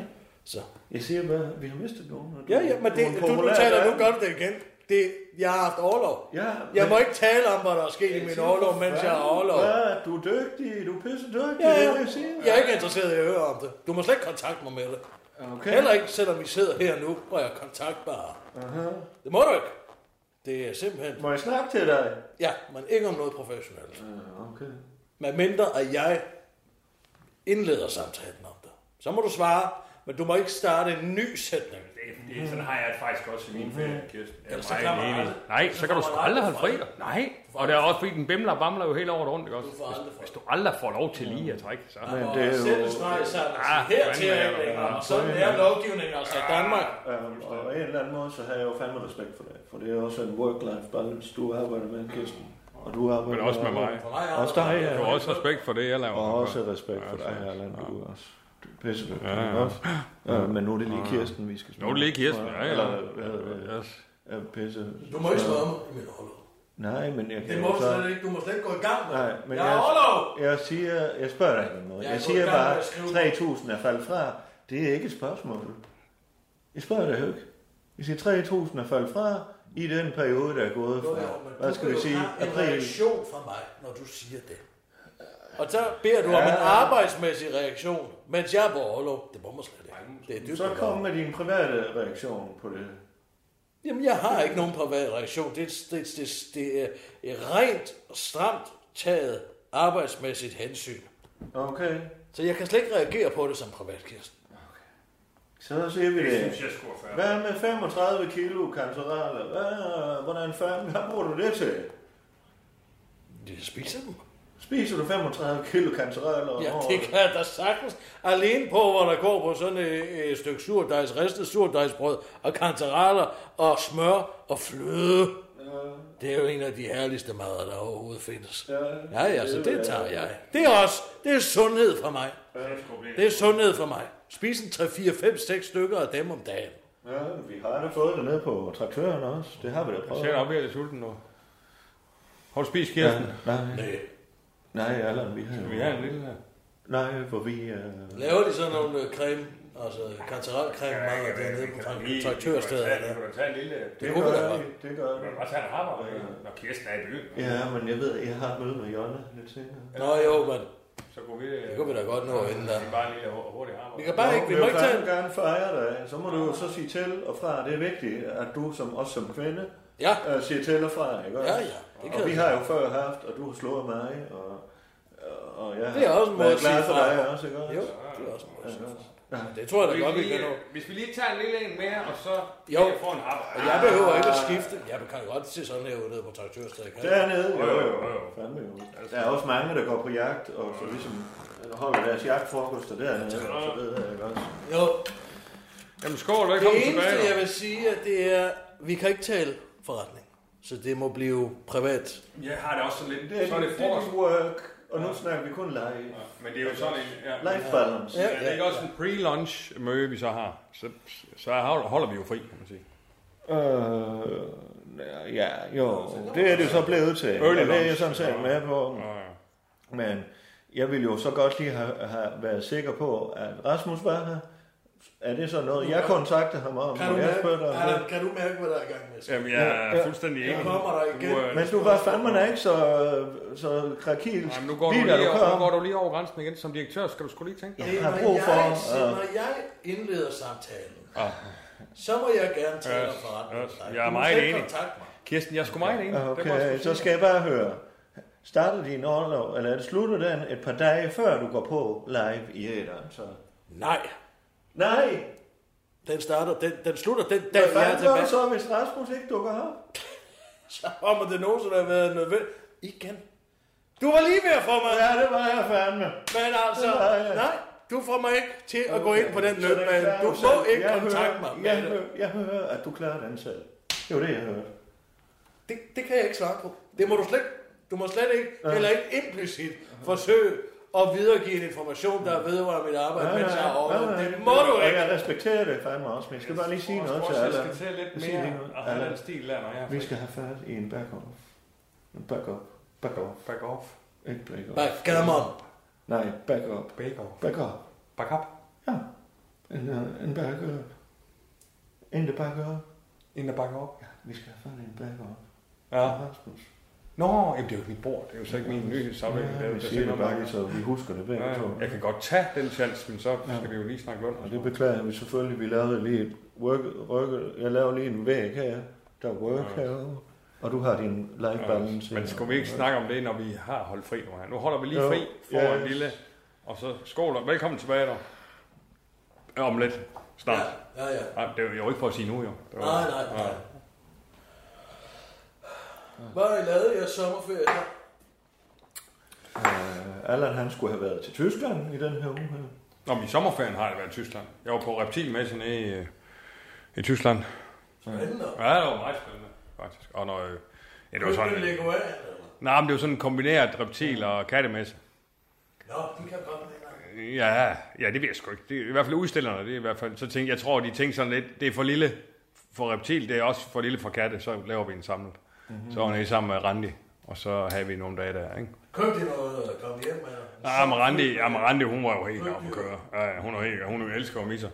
Speaker 1: Så.
Speaker 2: Jeg siger bare, vi har mistet nogen. og du-
Speaker 1: Ja, ja, men det,
Speaker 2: er en
Speaker 1: du, du
Speaker 2: populær
Speaker 1: taler, nu
Speaker 2: verden.
Speaker 1: gør du det igen. Det, jeg har haft orlov.
Speaker 2: Ja,
Speaker 1: jeg
Speaker 2: men-
Speaker 1: må ikke tale om, hvad der er sket i
Speaker 2: Jeg
Speaker 1: min
Speaker 2: siger,
Speaker 1: orlov,
Speaker 2: for
Speaker 1: mens jeg
Speaker 2: fanden,
Speaker 1: har orlov.
Speaker 2: Ja, du er dygtig, du er pisse dygtig,
Speaker 1: Ja,
Speaker 2: det
Speaker 1: ja.
Speaker 2: er det, jeg siger.
Speaker 1: Jeg er ikke interesseret i at høre om det. Du må slet ikke kontakte mig med det.
Speaker 2: Okay.
Speaker 1: Heller ikke, selvom vi sidder her nu, og jeg er kontaktbar.
Speaker 2: Aha.
Speaker 1: Det må du ikke. Det er simpelthen...
Speaker 2: Må jeg snakke til dig?
Speaker 1: Ja, men ikke om noget professionelt.
Speaker 2: Ja, okay.
Speaker 1: Med mindre, at jeg indleder samtalen om det. Så må du svare, men du må ikke starte en ny sætning.
Speaker 9: Det, det, sådan har jeg det faktisk også i min ferie, Kirsten. Jeg er
Speaker 1: Ellers så
Speaker 9: meget
Speaker 1: kommer
Speaker 9: enig.
Speaker 1: aldrig-
Speaker 9: Nej, så kan du sgu
Speaker 1: kommer
Speaker 9: aldrig holde
Speaker 1: aldrig
Speaker 9: fri. Nej, og det er også fordi, den bimler og bamler jo hele året rundt, ikke også?
Speaker 1: Du får aldrig
Speaker 9: Hvis, hvis du aldrig Mm. får lov til lige at trække, så...
Speaker 1: Men det er jo... Sætte streg sammen.
Speaker 9: Ah,
Speaker 1: Her til ændringer. Sådan er lovgivningen altså i Danmark.
Speaker 2: Øhm, og på en eller anden måde, så har jeg jo fandme respekt for det. For det er også en work-life balance, du arbejder med, Kirsten. Og du arbejder
Speaker 9: Men også med mig.
Speaker 2: Også dig, ja.
Speaker 9: Du har også respekt for det, jeg laver.
Speaker 2: Og også respekt for dig, Erland. Du er også du er pisse ja, ja. også.
Speaker 9: Ja.
Speaker 2: Øh, men nu er det lige
Speaker 9: Ja.
Speaker 2: Kirsten, vi skal
Speaker 9: Nu er det lige Kirsten, ja, ja.
Speaker 2: Eller, hvad hedder det? Ja, pisse.
Speaker 1: Du må ikke spørge mig i min hollow.
Speaker 2: Nej, men jeg kan
Speaker 1: Det
Speaker 2: jo
Speaker 1: må
Speaker 2: så-
Speaker 1: slet ikke. Du må slet ikke gå i gang med.
Speaker 2: Nej, men
Speaker 1: jeg er
Speaker 2: jeg,
Speaker 1: hollow!
Speaker 2: jeg siger, jeg spørger dig ikke om noget. Jeg,
Speaker 1: Jeg er
Speaker 2: jeg
Speaker 1: gået i
Speaker 2: siger
Speaker 1: gang med
Speaker 2: bare,
Speaker 1: at skrive.
Speaker 2: 3.000 er faldet fra. Det er ikke et spørgsmål. Jeg spørger dig jo ikke. Jeg siger, 3.000 er faldet fra i den periode, der er gået
Speaker 1: Jo,
Speaker 2: fra.
Speaker 1: jo, men
Speaker 2: Hvad
Speaker 1: du
Speaker 2: skal
Speaker 1: vil
Speaker 2: vi
Speaker 1: jo
Speaker 2: sige?
Speaker 1: have en
Speaker 2: April.
Speaker 1: reaktion fra mig, når du siger det. Og så beder du om
Speaker 2: Ja.
Speaker 1: en arbejdsmæssig reaktion, mens jeg er på overlov. Det må man slet ikke. Det er dybt
Speaker 2: Så kom med din private reaktion på det.
Speaker 1: Jamen, jeg har ikke nogen privat reaktion. Det er, det, det, det er et rent, stramt taget arbejdsmæssigt hensyn.
Speaker 2: Okay.
Speaker 1: Så jeg kan slet ikke reagere på det som privat, Kirsten.
Speaker 2: Så siger vi
Speaker 1: Det
Speaker 2: det.
Speaker 1: synes jeg sgu er fair.
Speaker 2: Hvad med 35 kilo kantoraler? Hvad, hvordan fanden, hvad bruger du det til?
Speaker 1: Jeg spiser dem.
Speaker 2: Spiser du 35 kilo kantoraler om
Speaker 1: Ja,
Speaker 2: året?
Speaker 1: det kan jeg da sagtens. Alene på, hvor der går på sådan et, et stykke surdejs, ristet surdejsbrød, og kantereller, og smør, og fløde. Det er jo en af de herligste mader, der overhovedet findes. Ja, ja, så det tager jeg. Det er også, det er sundhed for mig. Det er sundhed for mig. Spis en 3, 4, 5, 6 stykker af dem om dagen.
Speaker 2: Ja, vi har da fået det ned på traktøren også. Det har vi da
Speaker 9: Jeg
Speaker 2: prøvet.
Speaker 9: ser dig op, jeg er lidt sulten nu. Har du spist kirsten?
Speaker 2: Ja, nej. Nej, Allan, vi har
Speaker 9: Skal vi have en lille her?
Speaker 2: Nej, for vi... Uh...
Speaker 1: Laver de sådan nogle øh, creme, altså kantarelcreme mader dernede på
Speaker 9: Vi-
Speaker 1: traktørstedet?
Speaker 9: vi kan jo tage-
Speaker 1: eller?
Speaker 9: Vi kan tage en lille...
Speaker 1: Det kunne vi da godt.
Speaker 2: Det gør
Speaker 9: vi. kan bare tage en hammer, når kirsten er i byen.
Speaker 2: Ja, men jeg ved, jeg har et møde med Jonna lidt senere.
Speaker 1: Nå jo, men
Speaker 9: Så går vi... Det
Speaker 1: kunne vi da godt nå inden da.
Speaker 9: Det er bare en lille hu- hurtig hammer.
Speaker 1: Vi kan bare ikke- vi
Speaker 2: vil
Speaker 1: må
Speaker 2: jo
Speaker 1: ikke tage
Speaker 2: fandme gerne fejre dig. Så må du jo så sige til og fra. Det er vigtigt, at du som os som kvinde øh,
Speaker 1: ja.
Speaker 2: siger til og fra. Ikke? også?
Speaker 1: Ja, ja, det kan
Speaker 2: og vi
Speaker 1: jeg
Speaker 2: har
Speaker 1: sige.
Speaker 2: jo før haft, og du har slået mig. Og, og jeg
Speaker 1: Det er
Speaker 2: har
Speaker 1: også en måde
Speaker 2: været
Speaker 1: at sige
Speaker 2: glad for
Speaker 1: fra.
Speaker 2: dig også. Ikke? også?
Speaker 1: Jo, det er også en måde at sige
Speaker 2: Ja.
Speaker 1: Det tror jeg da
Speaker 9: Hvis
Speaker 1: godt, vi
Speaker 9: lige-
Speaker 1: kan nå.
Speaker 9: Hvis vi lige tager en lille en mere, og så...
Speaker 1: Jo,
Speaker 9: kan jeg få en hammer.
Speaker 1: og jeg behøver ikke at skifte. Jeg kan godt se sådan her ud nede på traktørstedet. kan jeg?
Speaker 2: Dernede, jo, jo, jo. Fandme jo.
Speaker 9: Altså.
Speaker 2: Der er også mange, der går på jagt, og så ligesom holder deres jagtfrokoster dernede, og så ved jeg ikke også.
Speaker 1: Jo.
Speaker 9: Jamen skål,
Speaker 1: Det
Speaker 9: velkommen tilbage.
Speaker 1: eneste, jeg
Speaker 9: dog.
Speaker 1: vil sige, at det er, vi kan ikke tale forretning. Så det må blive privat.
Speaker 9: Jeg har det også sådan lidt...
Speaker 2: Det er,
Speaker 9: så er det frokost.
Speaker 2: work, og nu snakker vi kun live.
Speaker 9: Men det er jo sådan en... Ja,
Speaker 2: Life balance.
Speaker 9: Ja, det er ikke også en pre-lunch møde, vi så har. Så, så holder vi jo fri, kan man sige.
Speaker 2: Øh, ja, jo, det er det så blevet til.
Speaker 9: Early
Speaker 2: og det er jeg
Speaker 9: lunch.
Speaker 2: sådan set med på.
Speaker 9: Ja, ja.
Speaker 2: Men jeg ville jo så godt lige have, have været sikker på, at Rasmus var her. Er det så noget, jeg kontakter ham om,
Speaker 1: Kan du,
Speaker 2: og jeg
Speaker 1: mærke,
Speaker 2: spørger dig om det?
Speaker 1: Allan, kan du mærke, hvad der er i gang med?
Speaker 9: Jamen, jeg er fuldstændig enig.
Speaker 1: Jeg kommer der igen.
Speaker 9: Du, øh,
Speaker 2: Men du var fandme da ikke så, så krakilsk.
Speaker 9: Nej, men nu går, du
Speaker 2: da
Speaker 9: lige, over, nu
Speaker 2: kom.
Speaker 9: går du lige over grænsen igen som direktør, skal du skulle lige tænke
Speaker 1: Det er,
Speaker 2: har
Speaker 1: når
Speaker 2: brug for,
Speaker 1: jeg, siger-
Speaker 2: øh,
Speaker 1: når jeg indleder samtalen,
Speaker 9: Ah.
Speaker 1: så må jeg gerne tale om
Speaker 9: Yes,
Speaker 1: forretning. med
Speaker 9: yes.
Speaker 1: dig.
Speaker 9: Jeg er
Speaker 1: Du må
Speaker 9: meget
Speaker 1: selv
Speaker 9: enig.
Speaker 1: kontakte mig.
Speaker 9: Kirsten, jeg er sgu meget enig. Det må jeg
Speaker 2: Okay, så
Speaker 9: sgu sige.
Speaker 2: skal jeg bare høre. Starter din orlov, eller er det slutter den et par dage før du går på live i æderen? Så?
Speaker 1: Nej.
Speaker 2: Nej!
Speaker 1: Den starter, den, den slutter den dag,
Speaker 2: Hvad
Speaker 1: jeg er
Speaker 2: fanden gør
Speaker 1: tilbage.
Speaker 2: du så, hvis Rasmus ikke dukker op?
Speaker 1: Så om det nogensinde har været nødvendigt. Igen. Du var lige ved at få mig.
Speaker 2: Ja, det var jeg fandme.
Speaker 1: Men altså,
Speaker 2: Det var jeg.
Speaker 1: nej, du får mig ikke til at gå ind på den
Speaker 2: Så det er
Speaker 1: løbbane.
Speaker 2: klart,
Speaker 1: Du
Speaker 2: så
Speaker 1: må ikke
Speaker 2: jeg
Speaker 1: kontakte
Speaker 2: hører-
Speaker 1: mig.
Speaker 2: Jeg
Speaker 1: med det.
Speaker 2: hører, jeg hører, at du klarer den selv. Det var det, jeg hørte.
Speaker 1: Det, det kan jeg ikke svare på. Det må du slet, du må slet ikke, eller ikke implicit, forsøge at videregive en information, der vedrører mit arbejde,
Speaker 2: Nej,
Speaker 1: mens jeg er
Speaker 2: nej,
Speaker 1: over.
Speaker 2: nej, nej.
Speaker 1: Det må du
Speaker 2: Og
Speaker 1: ikke.
Speaker 2: Jeg respekterer det fandme også, men jeg skal bare lige sige
Speaker 9: Jeg
Speaker 2: noget
Speaker 9: tror
Speaker 2: til
Speaker 9: også, jeg
Speaker 2: alle.
Speaker 9: skal til lidt
Speaker 2: Jeg siger
Speaker 9: mere
Speaker 2: lige noget.
Speaker 9: at have
Speaker 2: Alle.
Speaker 9: den stil der, når jeg er
Speaker 2: Vi
Speaker 9: fri.
Speaker 2: skal have fat i en back-off. En back-off. Back-off.
Speaker 9: Back-off.
Speaker 2: Ikke back-off.
Speaker 1: Backgammon.
Speaker 2: Nej, back-up.
Speaker 9: Back-off.
Speaker 2: Back-up.
Speaker 9: Back-up.
Speaker 2: Ja. En, øh, en back-up. En, der back-up.
Speaker 9: Inden der bakker op.
Speaker 2: Ja, vi skal have fat i en back-up.
Speaker 9: Ja.
Speaker 2: Rasmus.
Speaker 9: Nå, jamen, det er jo ikke mit bord. Det er jo så ikke min nyhedssamling.
Speaker 2: Ja,
Speaker 9: Det er jo-
Speaker 2: vi
Speaker 9: der
Speaker 2: siger
Speaker 9: siger
Speaker 2: det
Speaker 9: noget
Speaker 2: bare,
Speaker 9: om-
Speaker 2: så vi husker det begge
Speaker 9: Ja,
Speaker 2: to.
Speaker 9: Jeg kan godt tage den chance, men så skal vi jo lige snakke løn.
Speaker 2: Og det beklager vi selvfølgelig. Vi lavede lige et work, work, jeg lavede lige en væg her. Der er work
Speaker 9: Ja.
Speaker 2: herovre. Og du har din life balance.
Speaker 9: Men skal vi ikke snakke om det, når vi har holdt fri nu her? Nu holder vi lige
Speaker 2: Jo,
Speaker 9: fri for
Speaker 2: ja.
Speaker 9: en lille... Og så skål og velkommen tilbage der. Ja, om lidt. Snart.
Speaker 1: Ja, ja, ja.
Speaker 9: Nej, det er jo ikke for at sige nu, jo. Det var-
Speaker 1: Nej, nej, nej. Hvad har I lavet i jeres sommerferie?
Speaker 2: Øh, Allan han skulle have været til Tyskland i den her uge. her.
Speaker 9: Nå, men i sommerferien har jeg været i Tyskland. Jeg var på reptilmessen i, øh, i Tyskland.
Speaker 1: Spændende.
Speaker 9: Ja, det var meget spændende, faktisk. Og når, øh, ja, det var sådan...
Speaker 1: Købte Lego af, eller?
Speaker 9: Nej, men det var sådan en kombineret reptil- og kattemesse.
Speaker 1: Nå, de kan godt lide
Speaker 9: Ja, ja, det ved jeg sgu ikke. Det er i hvert fald udstillerne, det er i hvert fald. Så tænkte, jeg tror, de tænkte sådan lidt, det er for lille for reptil, det er også for lille for katte, så laver vi en samlet.
Speaker 1: Mhm.
Speaker 9: Mm-hmm. Så var jeg sammen med Randi, og så havde vi nogle dage der, ikke?
Speaker 1: Købte de noget
Speaker 2: øh,
Speaker 1: og kom hjem med?
Speaker 9: Ja, men Randi, ja, men Randi, Ah, hun var jo helt oppe at køre. Ja, ja, hun er helt, hun elsker jo misser.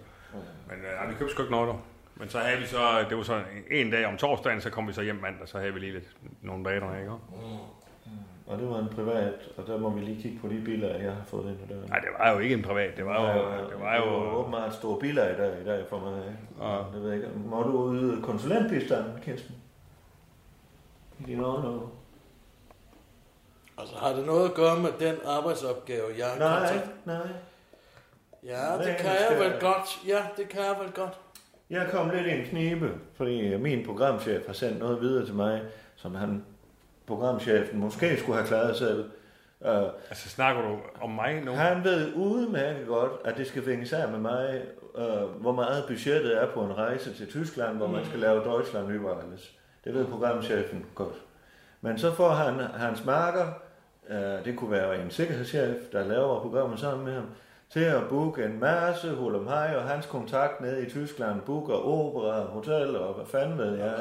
Speaker 9: Men ja, vi købte sgu ikke noget dog. Men så havde vi så, det var så en, en dag om torsdagen, så kom vi så hjem mandag, så havde vi lige lidt, nogle dage der, ikke?
Speaker 2: Mm. Og det var en privat, og der må vi lige kigge på de biler, jeg har fået ind ad døren.
Speaker 9: Nej, det var jo ikke en privat, det var jo...
Speaker 2: Ja,
Speaker 9: Det var jo
Speaker 2: åbenbart store biler i dag, i dag for mig. Ikke? Ja. Det ved jeg ikke. Må du yde konsulentbistand, Kirsten? I dine øjne?
Speaker 1: Altså, har det noget at gøre med den arbejdsopgave, jeg har
Speaker 2: Nej,
Speaker 1: kontakt-
Speaker 2: nej. Nej,
Speaker 1: Ja, det kan
Speaker 2: jeg
Speaker 1: jeg
Speaker 2: skal-
Speaker 1: vel godt. Ja, det kan jeg vel godt.
Speaker 2: Jeg kom lidt i en knibe, fordi øh, min programchef har sendt noget videre til mig, som han, programchefen, måske skulle have klaret selv. Uh,
Speaker 9: altså, snakker du om mig nu?
Speaker 2: Han ved udmærket godt, at det skal vinges af med mig, uh, hvor meget budgettet er på en rejse til Tyskland, hvor man skal lave Deutschland über alles. Det ved programchefen godt. Men så får han hans marker, øh, det kunne være en sikkerhedschef, der laver programmet sammen med ham, til at booke en masse hulumhej, og hans kontakt nede i Tyskland booker opera, hotel og hvad fanden ved jeg.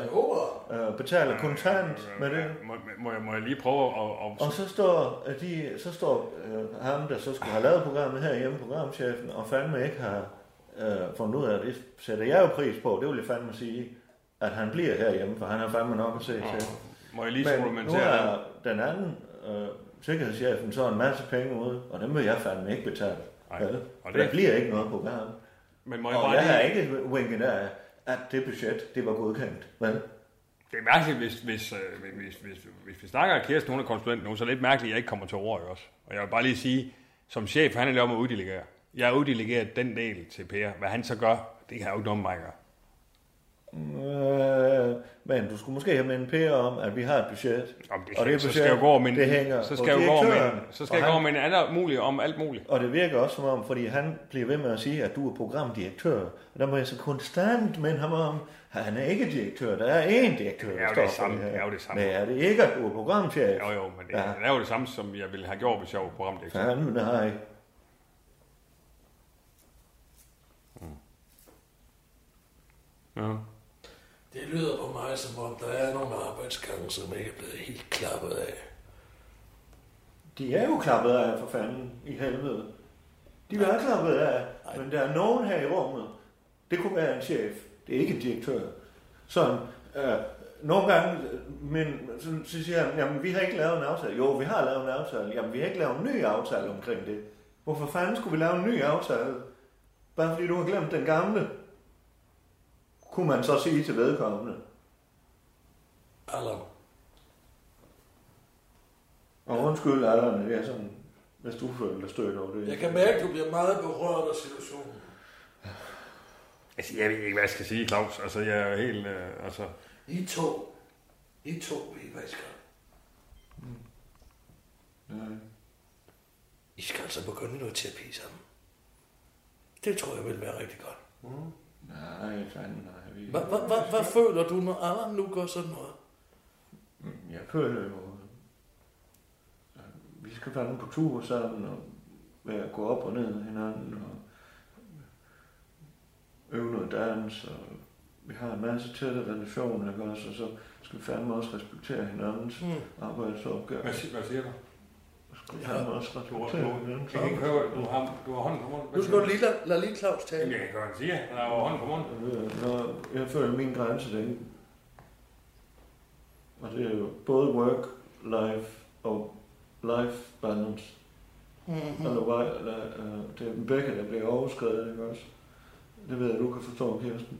Speaker 2: Øh, betaler kontant med det.
Speaker 9: Må, må, jeg, må jeg lige prøve at...
Speaker 2: Og så står, øh, de, så står øh, ham, der så skulle have lavet programmet herhjemme, programchefen, og fandme ikke har øh, fundet ud af, det sætter jeg jo pris på, det vil jeg fandme sige, at han bliver herhjemme, for han har fandme nok at se til.
Speaker 9: Må jeg lige
Speaker 2: Men nu
Speaker 9: supplementere
Speaker 2: er den anden øh, sikkerhedschefen så en masse penge ude, og dem vil jeg fandme ikke betale.
Speaker 9: Nej,
Speaker 2: Vel?
Speaker 9: og
Speaker 2: Og
Speaker 9: det-
Speaker 2: det... Der bliver ikke noget program.
Speaker 9: Men må jeg
Speaker 2: Og
Speaker 9: bare
Speaker 2: jeg
Speaker 9: lige-
Speaker 2: har ikke winket af, at det budget, det var godkendt. Vel?
Speaker 9: Det er mærkeligt, hvis, hvis, øh, hvis, hvis, hvis, hvis vi snakker, at Kirsten hun er konsulent nu, så er det lidt mærkeligt, at jeg ikke kommer til ord også. Og jeg vil bare lige sige, som chef, han er lavet med at uddelegere. Jeg har uddelegeret den del til Per. Hvad han så gør, det kan jeg jo ikke noget med mig at gøre.
Speaker 2: Øh, men du skulle måske have mindet Per om, at vi har et budget.
Speaker 9: Jamen, det, og det så skal jeg jo gå og minde,
Speaker 2: det hænger
Speaker 9: så
Speaker 2: på
Speaker 9: skal jeg jo gå og
Speaker 2: direktøren,
Speaker 9: minde, så skal
Speaker 2: og
Speaker 9: jeg gå
Speaker 2: han-
Speaker 9: og minde alle mulige om alt muligt.
Speaker 2: Og det virker også som om, fordi han bliver ved med at sige, at du er programdirektør. Og der må jeg så konstant minde ham om, at han er ikke direktør. Der er én direktør,
Speaker 9: Det er jo
Speaker 2: der
Speaker 9: det
Speaker 2: står for
Speaker 9: samme,
Speaker 2: her.
Speaker 9: det er jo det samme.
Speaker 2: Men er det ikke, at du er programchef?
Speaker 9: Jo, jo, men det, ja. det er jo det samme, som jeg ville have gjort, hvis jeg var programdirektør.
Speaker 2: Fanden, nej.
Speaker 9: Ja.
Speaker 1: Det lyder på mig, som om der er nogle arbejdsgange, som ikke er blevet helt klappet af.
Speaker 2: De er jo klappet af, for fanden, i helvede. De er klappet af, men der er nogen her i rummet. Det kunne være en chef, det er ikke en direktør. Sådan, øh, nogle gange, øh, men så, så siger han, jamen vi har ikke lavet en aftale. Jo, vi har lavet en aftale. Jamen vi har ikke lavet en ny aftale omkring det. Hvorfor fanden skulle vi lave en ny aftale? Bare fordi du har glemt den gamle, kunne man så sige til vedkommende.
Speaker 1: Allan.
Speaker 2: Og undskyld, Allan, det er sådan, hvis du føler dig stødt over det.
Speaker 1: Jeg kan mærke, at du bliver meget berørt af situationen.
Speaker 9: Altså, jeg ved ikke, hvad jeg skal sige, Claus. Altså, jeg er jo helt... Øh, altså...
Speaker 1: I to. I to ved, hvad I skal.
Speaker 2: Mm. Nej.
Speaker 1: I skal altså begynde noget terapi sammen. Det tror jeg vil være rigtig godt.
Speaker 2: Mm. Nej, fanden nej. Vi...
Speaker 1: Hvad- hvad- hvad- Hvad føler du, når Allan nu gør sådan noget?
Speaker 2: Mm, Jeg føler jo, at vi skal fandme på tur sammen og være gå op og ned af hinanden og øve noget dans og vi har en masse tætte relationer, ikke også? Og så skal vi fandme også respektere hinandens
Speaker 9: Mm.
Speaker 2: mm. arbejdsopgave.
Speaker 9: Hvad, sig- hvad siger du?
Speaker 2: Skal vi fandme også
Speaker 9: Du, du,
Speaker 2: respektere hinandens
Speaker 9: jeg kan ikke høre, du har, du har hånden på munden.
Speaker 1: Nu skal du lige lade, lade lige Claus tale.
Speaker 9: Jeg kan godt sige, han har jo hånden på munden.
Speaker 2: Øh, Når jeg føler min grænse den. Og det er jo både work, life og life balance.
Speaker 1: Mhm.
Speaker 2: Mm-hmm. Eller, hvad- eller, øh, det er dem begge, der bliver overskrevet, ikke også? Det ved jeg, du kan forstå, Kirsten.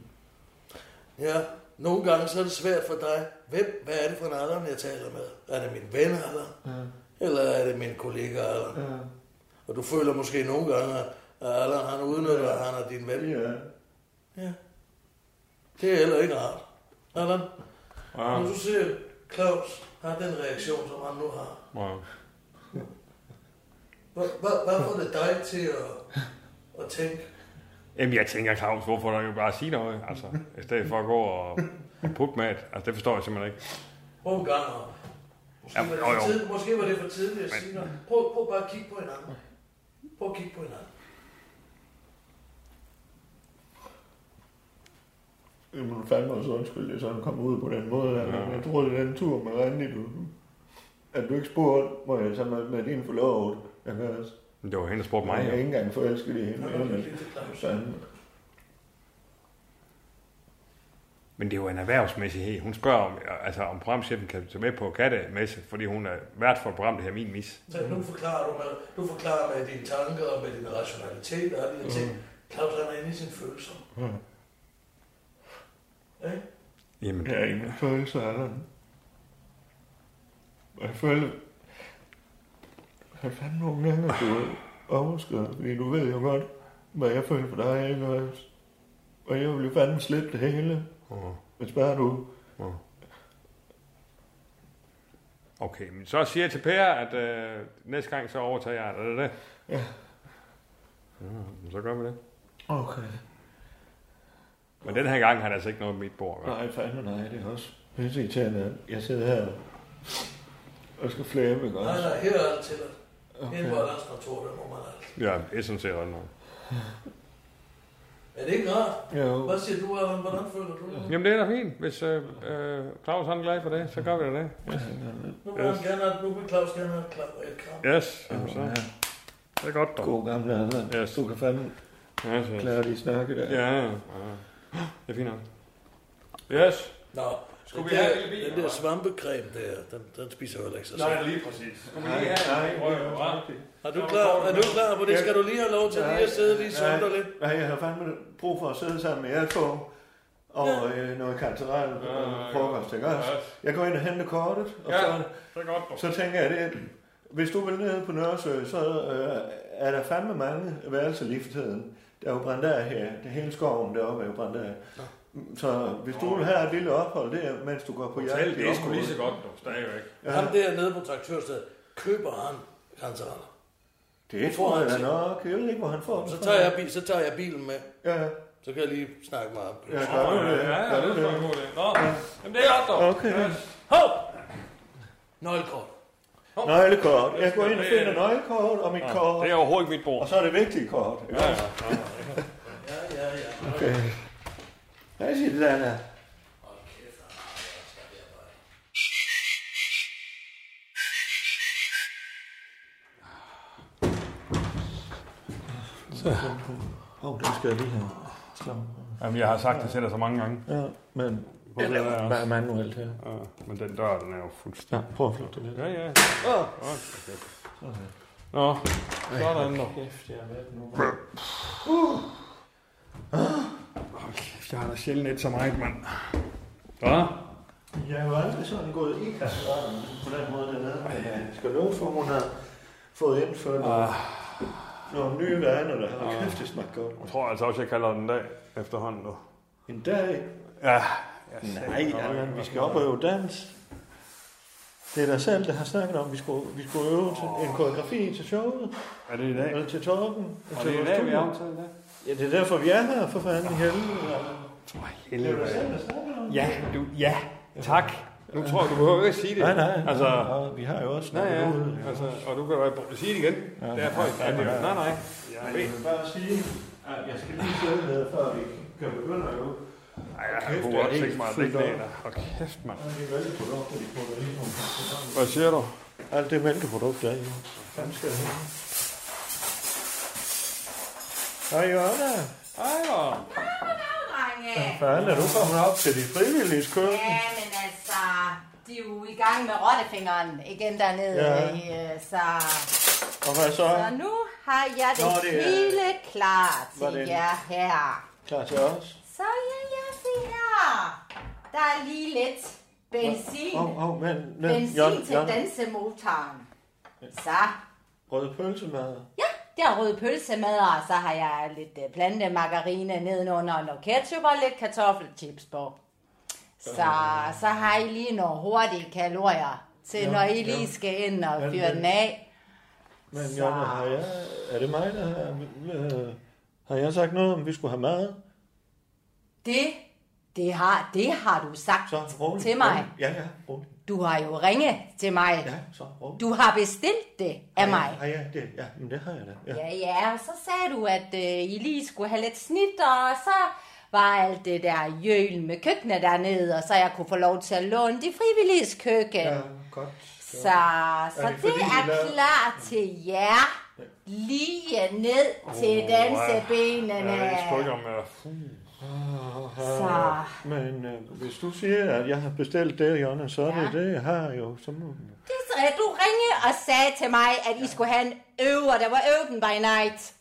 Speaker 1: Ja, nogle gange så er det svært for dig. Hvem, hvad er det for en Allan, jeg taler med? Er det min ven Allan?
Speaker 2: Ja.
Speaker 1: Eller er det min kollega Allan?
Speaker 2: Ja.
Speaker 1: Og du føler måske nogle gange, at Og Allan, han udnytter, at han er din ven.
Speaker 2: Ja.
Speaker 1: Ja. Det er heller ikke rart. Allan,
Speaker 9: Ja.
Speaker 1: når du ser Claus har den reaktion, som han nu har,
Speaker 9: Wow.
Speaker 1: hvad, hvad, hvad får det dig til at, at tænke,
Speaker 9: Jamen, jeg tænker, Claus, hvorfor der jo bare sige noget, altså, i stedet for at gå og, og putte med det. Altså, det forstår jeg simpelthen ikke.
Speaker 1: prøv en gang her. Måske,
Speaker 9: Jamen,
Speaker 1: var det
Speaker 9: jo,
Speaker 1: for
Speaker 9: jo.
Speaker 1: tidligt- måske var det for tidligt at
Speaker 9: Men-
Speaker 1: sige noget. Prøv, prøv bare at kigge på hinanden. Prøv at kigge på hinanden.
Speaker 2: Jeg må fandme også undskylde, at jeg sådan kom ud på den måde. Ja. Jeg tror, det er den tur med Randi, du... At du ikke spurgte, hvor jeg så med, med din forlovede, jeg kan også.
Speaker 9: Men Det var hende, der spurgte mig.
Speaker 2: Jeg er
Speaker 9: jo.
Speaker 2: ikke engang forelsket i hende.
Speaker 9: Nå, det er
Speaker 2: men-
Speaker 9: lidt
Speaker 2: Fandme.
Speaker 9: Men det er jo en erhvervsmæssighed. Hun spørger, om, altså, om programchefen kan tage med på kattemesse, fordi hun er vært for et program, det her Min Mis.
Speaker 1: Så nu forklarer du med, du forklarer med dine tanker og med din rationalitet og alle de her ting.
Speaker 9: Mm-hmm.
Speaker 1: Claus han er inde i sine følelser.
Speaker 2: Mm.
Speaker 1: Ikke?
Speaker 9: Jamen,
Speaker 2: jeg er ingen følelser af den. Og jeg føler, at fandme nogle gange er blevet overskrevet, fordi du ved jo godt, hvad jeg føler for dig, ikke også? Og jeg vil jo fandme slippe det hele,
Speaker 9: Mhm.
Speaker 2: hvis bare du...
Speaker 9: Okay, men så siger jeg til Per, at øh, næste gang så overtager jeg. Er det det?
Speaker 2: Ja.
Speaker 9: ja Mm, så gør vi det.
Speaker 2: Okay.
Speaker 9: Men den her gang har det altså ikke noget med mit bord. Vel?
Speaker 2: Nej, fandme nej, det er også pisse irriterende. at Jeg sidder her og skal flæbe, ikke også?
Speaker 1: Nej, nej, her er alt til dig. Okay.
Speaker 2: Okay.
Speaker 1: Inden på Allands kontor, der må man alt.
Speaker 9: Ja, det er sådan set ret nok.
Speaker 1: Er det ikke rart?
Speaker 9: Jo.
Speaker 1: Hvad siger du, Allan? Hvordan føler du det?
Speaker 9: Jamen det er da fint. Hvis øh, øh, Claus han er glad for det, så gør vi da det.
Speaker 1: Nu vil, yes. gerne, have- nu vil Claus gerne have et klap og et kram.
Speaker 9: Yes, jamen, så. Det er godt dog.
Speaker 2: God gamle Allan.
Speaker 9: Yes.
Speaker 2: Du kan fandme
Speaker 9: yes, yes.
Speaker 2: klare de snakke der.
Speaker 9: Ja, ja, ja. Det er fint nok. Yes.
Speaker 1: Nå,
Speaker 9: Skulle
Speaker 1: den
Speaker 9: vi
Speaker 1: der-
Speaker 9: have en lille bil,
Speaker 1: Den der svampecreme der, den, den spiser jo heller ikke sig
Speaker 9: Nej,
Speaker 1: selv.
Speaker 9: lige præcis. Skulle vi lige have en lille røv, hva'?
Speaker 1: Er du klar, er du klar på det? Skal du lige have lov til lige at sidde lige
Speaker 2: Nej,
Speaker 1: sådan lidt?
Speaker 2: Nej, jeg har fandme brug for at sidde sammen med jer to. Og
Speaker 1: Ja.
Speaker 2: øh, noget kanteral og
Speaker 9: Ja,
Speaker 2: frokost, ikke
Speaker 9: ja.
Speaker 2: også? Jeg går ind og henter kortet, og
Speaker 9: Ja,
Speaker 2: så,
Speaker 9: det er godt.
Speaker 2: så tænker jeg, det, hvis du vil ned på Nørresø, så øh, er der fandme mange værelser lige for tiden. Der er jo brændt af her. Det hele skoven deroppe er jo brændt af. Så hvis du vil have et lille ophold der, mens du går på jagt
Speaker 9: Hotel,
Speaker 2: i
Speaker 9: det er sgu
Speaker 2: området.
Speaker 9: lige så godt, dog. Stadigvæk.
Speaker 1: Ja. Ham der nede på traktørstedet, køber han kantereller.
Speaker 2: Det tror jeg da nok. Jeg ved ikke, hvor han får dem
Speaker 1: Så
Speaker 2: fra.
Speaker 1: tager jeg, bil, så tager jeg bilen med.
Speaker 2: Ja.
Speaker 1: Så kan jeg lige snakke meget.
Speaker 2: Ja, gør du det?
Speaker 9: Ja, ja,
Speaker 2: Gør
Speaker 9: det
Speaker 2: du
Speaker 9: er sgu en god idé. Nå, jamen det er godt, dog.
Speaker 2: Okay.
Speaker 1: Hov! Nøglekort.
Speaker 2: Nøglekort. Jeg går ind og finder nøglekort og mit
Speaker 9: Ja,
Speaker 2: kort.
Speaker 9: det er overhovedet ikke mit bord.
Speaker 2: Og så er det vigtige kort. Ja, ja, ja. Okay. Hvad siger det, Anna? Så. Hov, det skal jeg lige have. Slå.
Speaker 9: Jamen, jeg har sagt det til dig så mange gange.
Speaker 2: Ja, men
Speaker 9: Hvor
Speaker 2: jeg laver
Speaker 9: er-
Speaker 2: den bare manuelt her.
Speaker 9: Ja, men den dør, den er jo fuldstændig.
Speaker 2: Ja, prøv at flytte det lidt.
Speaker 9: Ja, ja.
Speaker 2: Åh.
Speaker 9: Okay.
Speaker 2: Sådan.
Speaker 9: Nå, sådan dog.
Speaker 2: Kæft, jeg er været nu.
Speaker 9: Uh. Hold kæft, jeg har da sjældent et så meget, mand. Hvad?
Speaker 2: Jeg har jo aldrig sådan gået i kassen på den måde dernede. Men jeg skal love for, hun har fået indført ah. nogle nye vaner, der har kæft, det smagt godt.
Speaker 9: Jeg tror altså også, jeg kalder den dag efterhånden nu.
Speaker 2: En dag?
Speaker 9: Ja. Jeg
Speaker 2: Nej, Allan, vi skal op og øve dans. Det er dig selv, der har snakket om, at vi skulle, vi skulle øve til en koreografi til showet.
Speaker 9: Er det i dag?
Speaker 2: Eller til Torben.
Speaker 9: Og det er i dag, vi aftaler det.
Speaker 2: Ja, det er derfor, vi er her, for fanden i helvede. Det er
Speaker 9: Helvede.
Speaker 2: jo dig selv, der snakker om det.
Speaker 9: Ja, du, ja, tak. Nu tror jeg, du behøver ikke at sige det.
Speaker 2: Nej, nej.
Speaker 9: Altså,
Speaker 2: Nej, vi har jo også
Speaker 9: nej, ja,
Speaker 2: snakket ud.
Speaker 9: altså, og du kan jo bare sige det igen. Ja, det er faktisk, nej, nej, nej, nej, nej. Jeg
Speaker 2: Men
Speaker 9: ved.
Speaker 2: jeg vil bare sige, at jeg skal lige sidde ned, før vi kan begynde at
Speaker 1: also
Speaker 2: øve.
Speaker 9: Ej, jeg kunne godt tænke mig, at det ikke er der. Hold kæft, mand. Hvad siger du?
Speaker 2: Alt det mælkeprodukt, der er i. Hvordan skal det Hej, Jonna.
Speaker 9: Hej, hvor.
Speaker 17: drenge.
Speaker 2: Fanden, er du kommet op til de frivillige skøn?
Speaker 17: Ja, men altså, de er jo i gang med rottefingeren igen dernede.
Speaker 2: Ja.
Speaker 17: Ja. Så,
Speaker 2: Og hvad så?
Speaker 17: så nu har jeg det,
Speaker 2: Nå,
Speaker 17: Nå,
Speaker 2: det er-
Speaker 17: det hele klar
Speaker 2: Var
Speaker 17: til
Speaker 2: det en-
Speaker 17: jer her.
Speaker 2: Klar til os?
Speaker 17: Så ja, ja, se her. Der er lige lidt benzin.
Speaker 2: Åh, oh, oh, men, men
Speaker 17: Benzin til dansemotoren. Så,
Speaker 2: Rød pølsemad.
Speaker 17: ja, Der er rød pølsemad, og så har jeg lidt øh, plantemargarine nedenunder, og noget ketchup og lidt kartoffelchips på. Så, så har I lige nogle hurtige kalorier til,
Speaker 18: Ja,
Speaker 17: når I
Speaker 18: ja.
Speaker 17: lige skal ind og
Speaker 18: Men-
Speaker 17: fyre
Speaker 18: men-
Speaker 17: den af.
Speaker 2: Men
Speaker 17: Så-
Speaker 2: Jonna, har jeg, er det mig, der har, øh, har jeg sagt noget om, vi skulle have mad?
Speaker 17: Det, det har, det har du sagt
Speaker 2: rolig,
Speaker 17: til mig.
Speaker 2: rolig. Ja, ja, rolig.
Speaker 17: Du har jo ringet til mig.
Speaker 2: Ja, så rolig.
Speaker 17: Du har bestilt det af
Speaker 2: Ja,
Speaker 17: mig.
Speaker 2: Ah, Ja, ja, det, ja, men det har jeg da. Ja.
Speaker 17: Ja, ja, og så sagde du, at øh, I lige skulle have lidt snit, og så var alt det der jøl med køkkenet dernede, og så jeg kunne få lov til at låne de frivilliges køkken.
Speaker 18: Ja, godt.
Speaker 17: Så, så
Speaker 18: Er
Speaker 17: er
Speaker 18: det
Speaker 17: det,
Speaker 18: fordi,
Speaker 17: er
Speaker 18: I lavede-
Speaker 17: klar til jer. Lige ned til
Speaker 9: Åh,
Speaker 17: dansebenene.
Speaker 9: Ja, det trykker med.
Speaker 17: Så.
Speaker 2: Men øh, hvis du siger, at jeg har bestilt det, Jonna, så er det
Speaker 17: Ja.
Speaker 2: det, jeg har jo. Så må...
Speaker 17: Det er så- Du ringede og sagde til mig, at I skulle have en øver, der var open by night.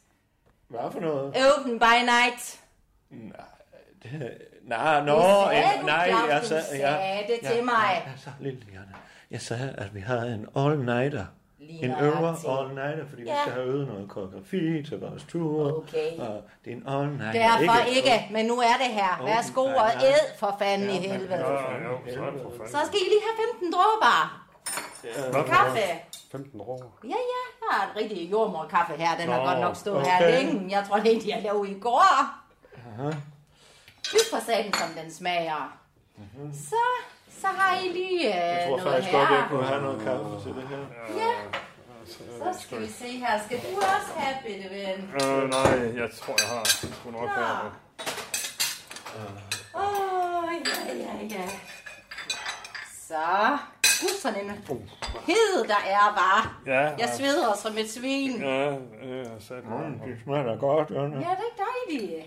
Speaker 2: Hvad for noget?
Speaker 17: Open by night.
Speaker 2: Nej,
Speaker 17: nå, Det sagde øh, du, nej, Claus, jeg du sagde- ja. sagde det til mig.
Speaker 2: Jeg, jeg, sagde, lille Jonna, jeg sagde, at vi har en all-nighter.
Speaker 17: Lige
Speaker 2: en
Speaker 17: nøjagtigt.
Speaker 2: øver all-nighter, fordi ja.
Speaker 17: Ja.
Speaker 2: vi skal have øvet noget koreografi til vores tur.
Speaker 17: Okay.
Speaker 2: Og det er en all-nighter.
Speaker 17: Derfor ikke, men nu er det her. Værsgo
Speaker 2: Open by
Speaker 17: og
Speaker 2: night.
Speaker 17: æd for fanden i helvede.
Speaker 9: jo, så er det for
Speaker 17: Så skal I lige have 15 dråber. Kaffe.
Speaker 9: 15 år.
Speaker 17: Ja, ja, jeg har en rigtig jordmorkaffe her. Den har
Speaker 9: Nå,
Speaker 17: godt nok stået her
Speaker 9: okay.
Speaker 17: længe. Jeg tror det egentlig, jeg lavede i går.
Speaker 2: Aha.
Speaker 17: Fy for satan, som den smager. Så, så har I lige øh,
Speaker 2: Jeg tror
Speaker 17: noget
Speaker 2: faktisk
Speaker 17: her.
Speaker 2: godt, jeg kunne have noget kaffe til det her.
Speaker 17: Ja, så skal vi se her. Skal du også have, bitte ven?
Speaker 9: Øh, nej, jeg tror, jeg har sgu nok her. nu.
Speaker 17: Åh, oh, ja, ja, ja. Så, gud, sådan en
Speaker 2: Oh.
Speaker 17: hed, der er bare.
Speaker 9: Ja,
Speaker 17: Jeg sveder som et svin.
Speaker 9: Ja, det er sat.
Speaker 2: Mm, det smager da godt, Jonna.
Speaker 9: Mm.
Speaker 17: Ja, det er ikke dejligt.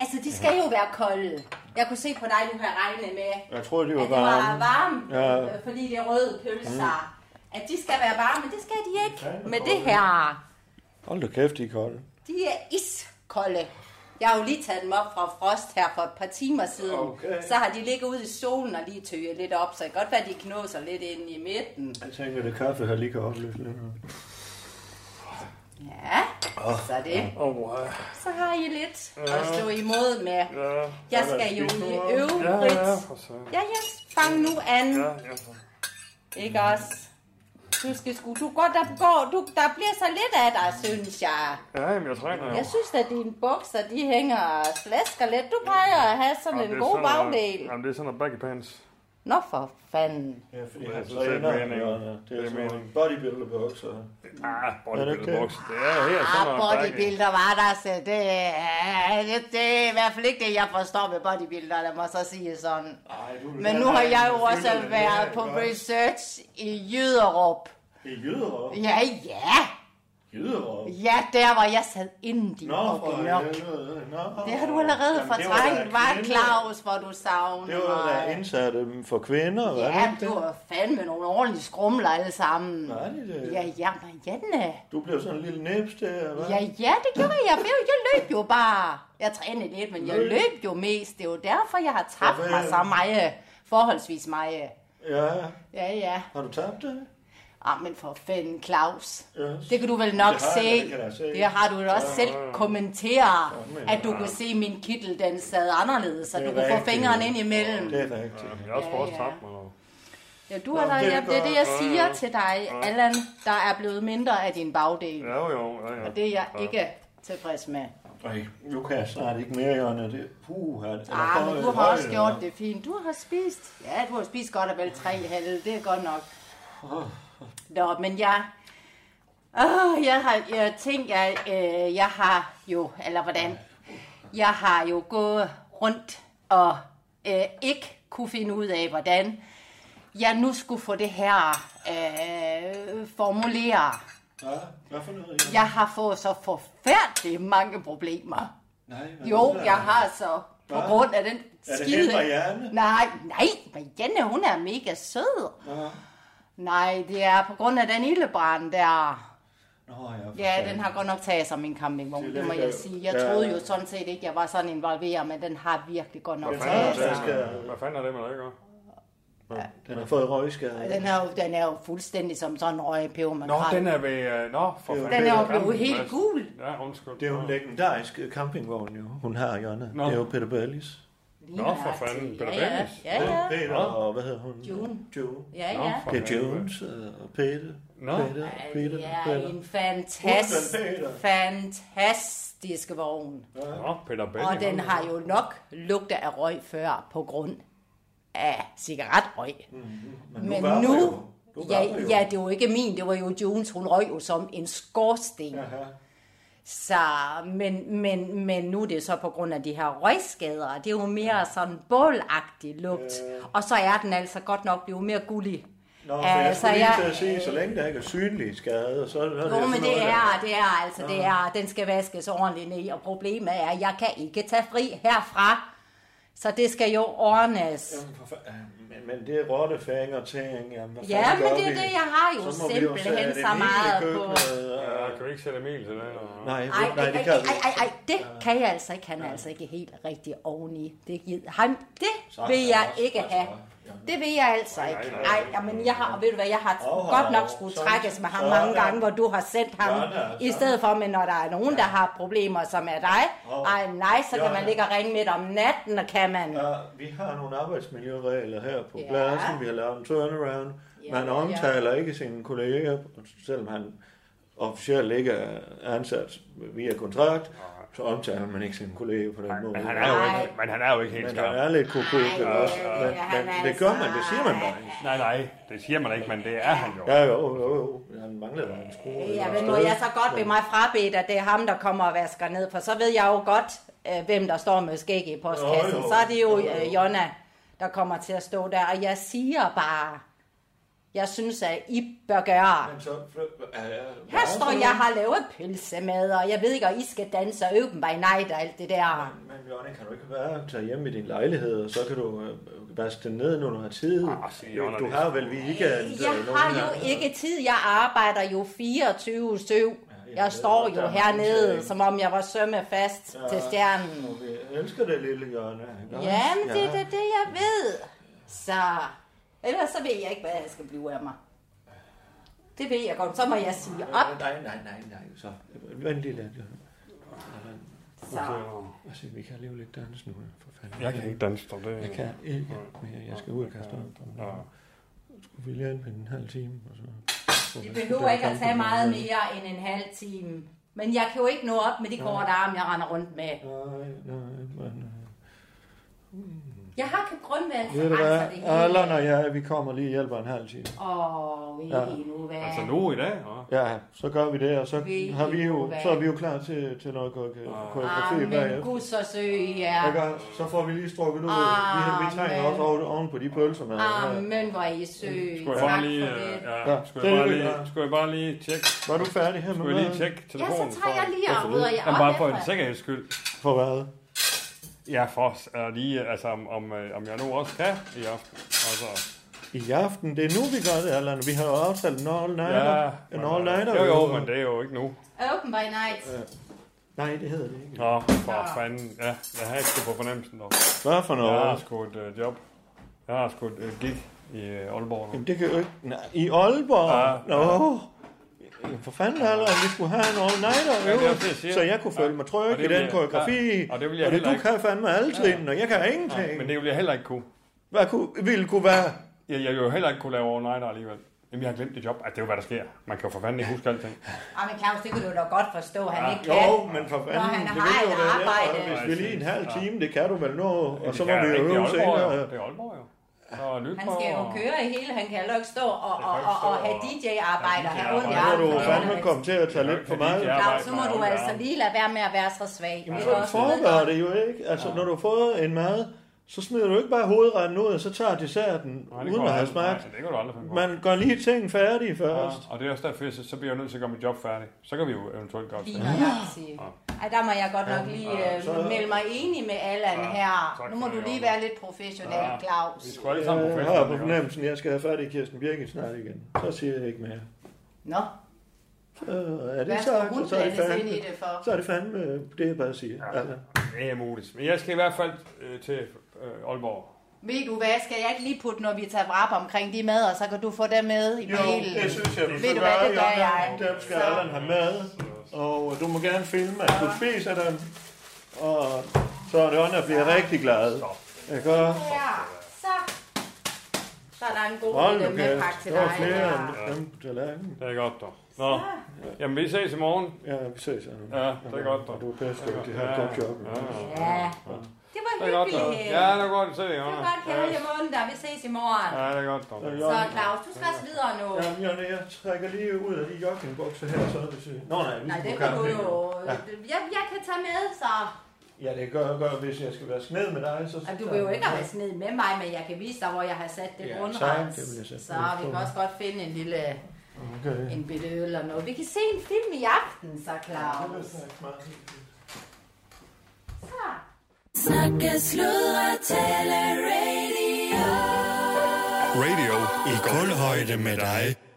Speaker 17: Altså, de skal jo være kolde. Jeg kunne se på dig, du har regnet med,
Speaker 2: Jeg tror, de
Speaker 17: at
Speaker 2: var
Speaker 17: det var
Speaker 2: varme.
Speaker 17: varme,
Speaker 2: Ja.
Speaker 17: ja. fordi det er røde pølser. At de skal være varme, men det skal de ikke med det her.
Speaker 2: Hold da kæft, de er kolde.
Speaker 17: De er iskolde. Jeg har jo lige taget dem op fra frost her for et par timer siden.
Speaker 2: Okay.
Speaker 17: Så har de ligget ude i solen og lige tøjet lidt op, så det kan godt være, at de knoser lidt ind i midten.
Speaker 2: Jeg tænker, det kaffe her lige kan opløse lidt. nu.
Speaker 17: Ja, så er det.
Speaker 9: Åh, wow.
Speaker 17: Så har I lidt
Speaker 9: Ja.
Speaker 17: at slå imod med.
Speaker 9: Ja.
Speaker 17: Jeg skal jo i øvrigt.
Speaker 9: Ja, ja, for søren.
Speaker 17: Ja, ja, fang nu an.
Speaker 9: Ja, ja, for-
Speaker 17: Ikke også? Du skal sgu, du godt, der, går, du, der bliver så lidt af dig, synes jeg.
Speaker 9: ja, jamen, jeg træner jo.
Speaker 17: Jeg synes, at dine bukser, de hænger og slasker lidt. Du plejer at have sådan
Speaker 9: Jamen, det
Speaker 17: en
Speaker 9: er
Speaker 17: god
Speaker 9: sådan noget-
Speaker 17: bagdel.
Speaker 9: Jamen, det er sådan noget baggy pants.
Speaker 17: Nå for fanden.
Speaker 2: Ja, fordi
Speaker 9: Ja,
Speaker 2: han
Speaker 9: så det er
Speaker 2: træner,
Speaker 9: meningen.
Speaker 2: Jonna. Det
Speaker 9: Det
Speaker 2: er
Speaker 9: er
Speaker 2: sådan nogle
Speaker 9: meningen.
Speaker 2: bodybuilder-bukser.
Speaker 9: Ah,
Speaker 2: bodybuilder-bukser.
Speaker 9: bodybuilder-bukser. Det er helt sådan
Speaker 17: Ah,
Speaker 9: noget
Speaker 17: bodybuilder var der, så det er, det, det er i hvert fald ikke det, jeg forstår med bodybuilder, lad mig så sige sådan.
Speaker 2: Ah,
Speaker 17: Men nu har jeg jo også været på research i Jyderup.
Speaker 2: I Jyderup?
Speaker 17: Ja, ja.
Speaker 2: Jyderup?
Speaker 17: Ja, der var jeg sad inden din
Speaker 2: Nå, for
Speaker 17: fucking nok.
Speaker 2: helvede. Nå.
Speaker 17: Det har du allerede
Speaker 2: Jamen, det var da
Speaker 17: fortrængt, var
Speaker 2: kvindeligt.
Speaker 17: Claus, hvor du savner
Speaker 2: Det var da
Speaker 17: mig.
Speaker 2: indsatte for kvinder, var det
Speaker 17: Ja,
Speaker 2: ikke
Speaker 17: du
Speaker 2: det?
Speaker 17: var fandme nogle ordentlige skrumler alle sammen.
Speaker 2: Var de det?
Speaker 17: Ja, ja, Marianne.
Speaker 2: Du blev sådan en lille næbs der, hva'?
Speaker 17: Ja, ja, det gjorde jeg. Jeg, jeg løb jo bare. Jeg trænede lidt, men jeg
Speaker 2: Løb.
Speaker 17: løb jo mest. Det er jo derfor, jeg har tabt
Speaker 2: Hvorfor? øh?
Speaker 17: mig så meget. Forholdsvis meget.
Speaker 2: Ja.
Speaker 17: Ja, ja.
Speaker 2: Har du tabt det? Øh,
Speaker 17: Ah, men for fanden, Claus.
Speaker 2: Yes.
Speaker 17: Det kan du vel nok
Speaker 2: Det har jeg,
Speaker 17: se.
Speaker 2: det kan jeg se.
Speaker 17: Det har du da også
Speaker 2: Ja.
Speaker 17: selv kommenteret,
Speaker 2: men-
Speaker 17: at du kunne se, at min kittel den sad anderledes, så
Speaker 2: Det
Speaker 17: du
Speaker 2: er
Speaker 17: kunne få
Speaker 2: rigtigt.
Speaker 17: fingeren ind imellem.
Speaker 2: Det er rigtigt.
Speaker 9: Jeg har sgu
Speaker 17: Ja,
Speaker 9: også
Speaker 17: ja.
Speaker 9: tabt mig noget.
Speaker 17: Ja, du har
Speaker 9: Nå,
Speaker 17: da,
Speaker 9: det er
Speaker 17: ja, det er det, jeg
Speaker 9: godt. Ja,
Speaker 17: siger
Speaker 9: ja.
Speaker 17: til dig,
Speaker 9: Ja.
Speaker 17: Allan, der er blevet mindre af din bagdel.
Speaker 9: Ja, jo, jo, ja, ja.
Speaker 17: Og det er jeg
Speaker 9: Ja.
Speaker 17: ikke tilfreds med.
Speaker 2: Ej, nu kan jeg snart ikke mere, Jonna. Det, puh, han,
Speaker 17: Ah, men du har også gjort det fint. Du har spist. Ja, du har spist godt og vel tre halve. Det er godt nok. Nå, men jeg... Åh, jeg har jeg tænkt, jeg, øh, jeg har jo, eller hvordan, jeg har jo gået rundt og øh, ikke kunne finde ud af, hvordan jeg nu skulle få det her øh, formuleret.
Speaker 2: Ja, hvad for noget? Jonna?
Speaker 17: Jeg har fået så forfærdeligt mange problemer.
Speaker 2: Nej, hvad
Speaker 17: Jo,
Speaker 2: er det?
Speaker 17: jeg har så. På
Speaker 2: Hva?
Speaker 17: grund af den
Speaker 2: Er det
Speaker 17: skide...
Speaker 2: hende Marianne?
Speaker 17: Nej, nej, Marianne, hun er mega sød.
Speaker 2: Ja.
Speaker 17: Nej, det er på grund af den ildebrand der.
Speaker 2: Nå, ja, for
Speaker 17: Ja,
Speaker 2: fanden.
Speaker 17: den har godt nok taget sig min campingvogn,
Speaker 2: Det
Speaker 17: det må
Speaker 2: ligger
Speaker 17: jeg
Speaker 2: jo-
Speaker 17: sige. Jeg
Speaker 2: Ja.
Speaker 17: troede jo sådan set ikke, jeg var sådan involveret, men den har virkelig godt nok
Speaker 9: Hvad fanden er
Speaker 17: taget
Speaker 9: det,
Speaker 17: sig.
Speaker 9: med- hvad fanden er det med dig, ikke?
Speaker 2: Den har fået røgskade.
Speaker 17: Den er, jo, den er jo fuldstændig som sådan en røgpeber, man
Speaker 9: Nå,
Speaker 17: har.
Speaker 9: den er ved... øh, Nå, for
Speaker 17: Den
Speaker 9: fanden.
Speaker 17: er jo
Speaker 9: gammel.
Speaker 17: blevet helt gul.
Speaker 9: Ja, undskyld.
Speaker 2: Det er jo en legendarisk øh, campingvogn, jo. hun har, Jonna.
Speaker 9: Nå.
Speaker 2: Det er jo Peter Bellis.
Speaker 17: Lige Nå, for nøjagtigt. fanden, Peter Ja, ja. Bellis. Ja, ja.
Speaker 2: Peter,
Speaker 17: Nå.
Speaker 2: og hvad hedder hun?
Speaker 17: June.
Speaker 2: June.
Speaker 17: Ja, Nå, ja. for
Speaker 2: Det er
Speaker 17: helvede.
Speaker 2: Jones øh, og Peter.
Speaker 9: Nå.
Speaker 2: Peter,
Speaker 17: Ej,
Speaker 2: Peter,
Speaker 17: Det er
Speaker 2: Peter.
Speaker 17: en fantastisk,
Speaker 2: Ulven Peter.
Speaker 17: fantastisk vogn.
Speaker 9: Nå, Peter Belli.
Speaker 17: Og den har jo nok lugtet af røg før på grund af cigaretrøg.
Speaker 3: Men
Speaker 2: nu
Speaker 17: Men
Speaker 2: var der
Speaker 17: nu,
Speaker 2: jo- nu var
Speaker 17: ja,
Speaker 2: der jo-
Speaker 17: ja, det var ikke min, det var jo Jones, hun røg jo som en skorsten. Så, men, men, men nu er det så på grund af de her røgskader, det er jo mere sådan bålagtig lugt. Og så er den altså godt nok blevet mere gullig.
Speaker 2: Nå, for jeg skulle lige til at sige, så længe der ikke er synlige skader, så, så er det
Speaker 17: Jo, men
Speaker 2: sådan noget,
Speaker 17: det er,
Speaker 2: der-
Speaker 17: det er altså, det er, den skal vaskes ordentligt ned, og problemet er, at jeg kan ikke tage fri herfra, så det skal jo ordnes.
Speaker 2: Jamen, for fa- øh, Men, men det er rottefænger ting. Jamen, hvad
Speaker 17: Ja,
Speaker 2: fanden
Speaker 17: men
Speaker 2: gør
Speaker 17: det er
Speaker 2: vi?
Speaker 17: det, jeg har jo
Speaker 2: Så må vi
Speaker 17: simpelthen
Speaker 2: sætte
Speaker 17: så
Speaker 2: en hel
Speaker 17: meget
Speaker 2: køkken,
Speaker 17: på.
Speaker 2: øh,
Speaker 9: Ja, kan du ikke sætte mel til det? Eller?
Speaker 2: Nej,
Speaker 17: Ej,
Speaker 2: nej,
Speaker 17: ej,
Speaker 2: det
Speaker 17: ej,
Speaker 2: kan vi
Speaker 17: ej, ej, ej, det kan jeg altså ikke. Han er altså ikke helt rigtig oveni. Det, gider- ham, det vil jeg ikke have. Det vil jeg altså ikke. Ej, men jeg har, ved du hvad, jeg har godt nok skulle trækkes med ham mange gange, hvor du har sendt ham. I stedet for, men når der er nogen, der har problemer, som er dig, ej nej, så kan man ligge og ringe midt om natten, og kan man.
Speaker 2: Vi har nogle arbejdsmiljøregler her på pladsen. Vi har lavet en turnaround.
Speaker 17: Ja,
Speaker 2: Man
Speaker 17: ja.
Speaker 2: omtaler ikke sine kolleger, selvom han officielt ikke er ansat via kontrakt, så omtaler man ikke sine kolleger på den måde.
Speaker 9: men han er jo ikke- men han er jo ikke helt
Speaker 2: Men
Speaker 9: skarp.
Speaker 2: han er lidt koko.
Speaker 9: Ej,
Speaker 2: Men, men
Speaker 9: han er altså-
Speaker 2: det gør man, det siger man bare.
Speaker 9: Nej, nej, det siger man ikke, men det er han jo.
Speaker 2: Ja, jo, jo, jo. Han mangler bare en skrue.
Speaker 17: Ja, men må jeg så godt ved mig frabedt, at det er ham, der kommer og vasker ned, for så ved jeg jo godt, øh, hvem der står med skæg i postkassen.
Speaker 3: Jo, jo.
Speaker 17: Så er det
Speaker 3: Jo,
Speaker 17: jo
Speaker 3: jo.
Speaker 17: øh, Jonna, der kommer til at stå der, og jeg siger bare, jeg synes, at I bør gøre.
Speaker 2: Men så, ja, ja,
Speaker 17: Her står jeg har lavet pølsemad, og jeg ved ikke, og I skal danse og open by night og alt det der.
Speaker 2: Men Jonna, kan du ikke være tage hjem i din lejlighed, og så kan du øh, vaske den ned, når du har tid?
Speaker 9: Ah, Jonna,
Speaker 2: du
Speaker 9: det-
Speaker 2: har vel weekend? øh,
Speaker 17: Jeg
Speaker 2: nogle
Speaker 17: har
Speaker 2: gange.
Speaker 17: jo ikke tid, jeg arbejder jo 24 7 Jeg står
Speaker 2: der
Speaker 17: jo
Speaker 2: er mange ting.
Speaker 17: hernede, som om jeg var sømmefast
Speaker 2: Ja.
Speaker 17: til stjernen.
Speaker 2: Og vi elsker det, lille Jonna. ikke også?
Speaker 17: Ja, men det er da det, jeg ved. Så ellers så ved jeg ikke, hvad jeg skal blive af mig. Det ved jeg godt. Så må jeg sige op.
Speaker 2: Nej, nej, nej, nej. Så vent lige lidt. Jonna.
Speaker 17: Så.
Speaker 2: Okay. Altså, vi kan leve lidt dans nu, for fanden.
Speaker 9: Jeg kan ikke danse, dog. Det-
Speaker 2: Jeg kan ikke mere. Jeg skal ud og kaste op. Og Skulle vi lige ind på en halv time? Og så...
Speaker 17: Vi behøver ikke at tage meget mere end en halv time. Men jeg kan jo ikke nå op med de korte arme, jeg render rundt med.
Speaker 2: Nej, men... øh,
Speaker 17: Jeg har ikke grundvalg
Speaker 2: Ved du
Speaker 17: for
Speaker 2: hvad?
Speaker 17: altså det hele.
Speaker 2: Allan og jeg, vi kommer lige og hjælper en halv time.
Speaker 17: Åh, vi
Speaker 2: Ja.
Speaker 17: er nu hvad?
Speaker 9: Altså nu i dag, og...
Speaker 2: Ja, så gør vi det, og så,
Speaker 17: Vi
Speaker 2: har vi jo,
Speaker 17: hvad?
Speaker 2: så er vi jo klar til, til noget koreografi
Speaker 17: Ah,
Speaker 2: koreografi
Speaker 17: men
Speaker 2: bagefter.
Speaker 17: gud så sø, ja.
Speaker 2: Ja. Så får vi lige strukket ud. vi, vi trænger
Speaker 17: Amen.
Speaker 2: også oven, oven på de pølser, man har.
Speaker 17: Ah, men hvor er I sø. Tak
Speaker 9: Skulle jeg bare
Speaker 17: for
Speaker 9: lige,
Speaker 17: det.
Speaker 9: øh, ja,
Speaker 2: Ja,
Speaker 9: skulle
Speaker 2: det
Speaker 9: jeg
Speaker 2: er
Speaker 9: bare
Speaker 2: det,
Speaker 9: lige,
Speaker 2: ja.
Speaker 9: skulle jeg bare lige tjekke.
Speaker 2: Var du færdig her med
Speaker 9: Skulle jeg lige
Speaker 2: maden?
Speaker 9: tjekke telefonen?
Speaker 17: Ja, så tager jeg
Speaker 9: for-
Speaker 17: lige og
Speaker 9: for-
Speaker 17: rydder jer
Speaker 9: Jamen,
Speaker 17: op
Speaker 9: Bare for en
Speaker 17: efter.
Speaker 9: sikkerheds skyld.
Speaker 2: For hvad?
Speaker 9: Ja, for os er lige, altså om, om, øh, om jeg nu også kan i aften. Altså,
Speaker 2: I aften, det er nu, vi gør det, Allan. Vi har jo aftalt en all-nighter.
Speaker 9: ja,
Speaker 2: en
Speaker 9: men,
Speaker 2: all-nighter.
Speaker 9: øh, Jo, jo, men det er jo ikke nu.
Speaker 17: Open by night.
Speaker 2: Nej, det hedder det ikke.
Speaker 9: Nå, for fanden. Ja, jeg har ikke sgu på fornemmelsen dog.
Speaker 2: Hvad for noget?
Speaker 9: Jeg har sgu et øh, job. Jeg har sgu et øh, gig i øh, Aalborg nu.
Speaker 2: Jamen, det kan jo ikke... Nej, I Aalborg?
Speaker 9: Ja,
Speaker 2: Ja,
Speaker 9: ja.
Speaker 2: Nå. Jamen, For fanden, Allan, vi skulle have en all-nighter.
Speaker 9: Ja, det er også det, jeg
Speaker 2: øvelse,
Speaker 9: siger.
Speaker 2: så jeg kunne føle mig
Speaker 9: Og
Speaker 2: tryg
Speaker 9: det
Speaker 2: i
Speaker 9: vil
Speaker 2: den
Speaker 9: jeg-
Speaker 2: koreografi.
Speaker 9: ja, og det vil jeg heller
Speaker 2: du
Speaker 9: ikke.
Speaker 2: kan fandme alle trinene, og jeg kan
Speaker 9: Nej,
Speaker 2: ingenting.
Speaker 9: men det ville jeg heller ikke kunne.
Speaker 2: Hvad kunne, ville kunne være?
Speaker 9: Jeg, jeg ville jo heller ikke kunne lave overnighter alligevel. Jamen, jeg har glemt det job. Altså, det er jo, hvad der sker. Man kan jo for fanden ikke huske alting.
Speaker 17: Ej, Ah, men Claus, det kunne du da godt forstå, han
Speaker 9: Ja.
Speaker 17: ikke
Speaker 2: Ah, Jo,
Speaker 17: kan.
Speaker 2: men for
Speaker 17: Når
Speaker 2: fanden,
Speaker 17: han
Speaker 2: det
Speaker 17: har
Speaker 2: ved
Speaker 17: et
Speaker 2: du da, det er
Speaker 17: arbejde.
Speaker 2: Hvis vi lige en halv
Speaker 9: Ja.
Speaker 2: time, det kan du vel nå, og så må
Speaker 9: kan
Speaker 2: vi
Speaker 9: jeg
Speaker 2: jo
Speaker 9: ikke. Det er
Speaker 2: øve
Speaker 9: Aalborg, jo.
Speaker 2: senere.
Speaker 9: Det er Aalborg jo. Så lyt
Speaker 17: Han skal jo køre i hele, han kan jo ikke stå og, og, og, og have DJ-arbejder her rundt i
Speaker 2: Så må du
Speaker 17: armen.
Speaker 2: fandme komme til at tage lidt for meget.
Speaker 17: Claus, så må du altså lige lade være med at være så svag.
Speaker 2: Jamen,
Speaker 17: Det
Speaker 2: sådan
Speaker 17: er også
Speaker 2: foregår det jo ikke. Altså, når du har fået en mad, så smider du ikke bare hovedretten ud, og så tager desserten
Speaker 9: Nej, det
Speaker 2: uden
Speaker 9: går
Speaker 2: at have
Speaker 9: aldrig.
Speaker 2: smagt.
Speaker 9: Nej, det kan du aldrig finde på.
Speaker 2: Man gør lige ting færdige først.
Speaker 9: Ja, og det er også derfor, så, så bliver jeg nødt til at gøre mit job færdig. Så kan vi jo eventuelt gøre det.
Speaker 17: lige nøjagtigt. Ej, der må jeg godt nok lige øh, melde mig enig med Allan
Speaker 9: Ja,
Speaker 17: her.
Speaker 9: tak
Speaker 17: Nu må
Speaker 9: for
Speaker 17: du
Speaker 9: det,
Speaker 17: lige
Speaker 9: Jonna.
Speaker 17: være lidt professionel,
Speaker 9: Ja.
Speaker 17: Claus.
Speaker 9: Vi skulle alle sammen på
Speaker 2: jeg
Speaker 9: festen,
Speaker 2: har
Speaker 9: ikke
Speaker 2: på
Speaker 9: også?
Speaker 2: fornemmelsen, at jeg skal have fat i Kirsten Birgit snart igen. Så siger jeg ikke mere.
Speaker 17: Nå.
Speaker 2: Øh, er
Speaker 17: Hvad
Speaker 2: det
Speaker 17: skal
Speaker 2: sagt,
Speaker 17: hun
Speaker 2: og så er det
Speaker 17: blandes ind
Speaker 2: fandme,
Speaker 17: i det for?
Speaker 2: så er det fandme øh, det, jeg bare siger. Ja.
Speaker 9: Det er muligt. Men jeg skal i hvert fald øh, til øh, Aalborg
Speaker 17: Ved du hvad, skal jeg ikke lige putte, når vi tager vrap omkring de mad, og så kan du få dem med i
Speaker 2: Jo,
Speaker 17: mailen?
Speaker 2: det synes jeg, vi
Speaker 17: Ved
Speaker 2: skal
Speaker 17: du hvad,
Speaker 2: gøre,
Speaker 17: det gør
Speaker 2: Jonna.
Speaker 17: jeg.
Speaker 2: Dem skal Allan have med, og du må gerne filme, at du spiser dem, og så er det ånden, bliver rigtig glad. Ikke også?
Speaker 17: Ja, så. Så er der en god
Speaker 2: Hold
Speaker 17: lille
Speaker 2: nu
Speaker 17: med
Speaker 2: kæft,
Speaker 17: pakke til
Speaker 2: der var
Speaker 17: dig.
Speaker 2: flere
Speaker 17: Ja.
Speaker 2: end dem til lagen.
Speaker 9: Det er godt, dog. Nå, jamen vi ses i morgen.
Speaker 2: Ja, vi ses. Anna.
Speaker 9: Ja, det er godt, dog.
Speaker 2: Du er pæst,
Speaker 9: Det er
Speaker 2: de
Speaker 9: godt.
Speaker 2: har
Speaker 9: Ja,
Speaker 2: godt job.
Speaker 9: ja, ja.
Speaker 17: Ja, det var
Speaker 9: Det er godt, dog.
Speaker 17: hyggeligt.
Speaker 9: Ja, det er godt, se,
Speaker 17: Det var
Speaker 9: Jonna.
Speaker 17: godt, kære
Speaker 9: Ja.
Speaker 17: ja. Måneder. Vi ses i morgen.
Speaker 9: Ja, det er godt, dog.
Speaker 17: Så Claus, du skal også videre nu.
Speaker 2: Jamen, Jonna, jeg trækker lige ud af de joggingbukser her, så er det sygt. Nå, nej, vi
Speaker 17: Nej,
Speaker 2: skal
Speaker 17: det
Speaker 2: på
Speaker 17: kan du
Speaker 2: camping.
Speaker 17: jo.
Speaker 2: Ja.
Speaker 17: Jeg, jeg kan tage med, så.
Speaker 2: Ja, det gør jeg godt, hvis jeg skal være sned med dig. Så,
Speaker 17: Og du vil jo ikke have sned med mig, men jeg kan vise dig, hvor jeg har sat det
Speaker 2: Ja, tak,
Speaker 17: grundrens.
Speaker 2: det vil jeg sætte
Speaker 17: Så
Speaker 2: pris
Speaker 17: vi
Speaker 2: på.
Speaker 17: kan også godt finde en lille
Speaker 2: Okay.
Speaker 17: en bitte øl eller noget. Vi kan se en film i aften, så Claus.
Speaker 6: Snakke, sludre, tale, radio.
Speaker 19: Radio i kulhøjde med dig.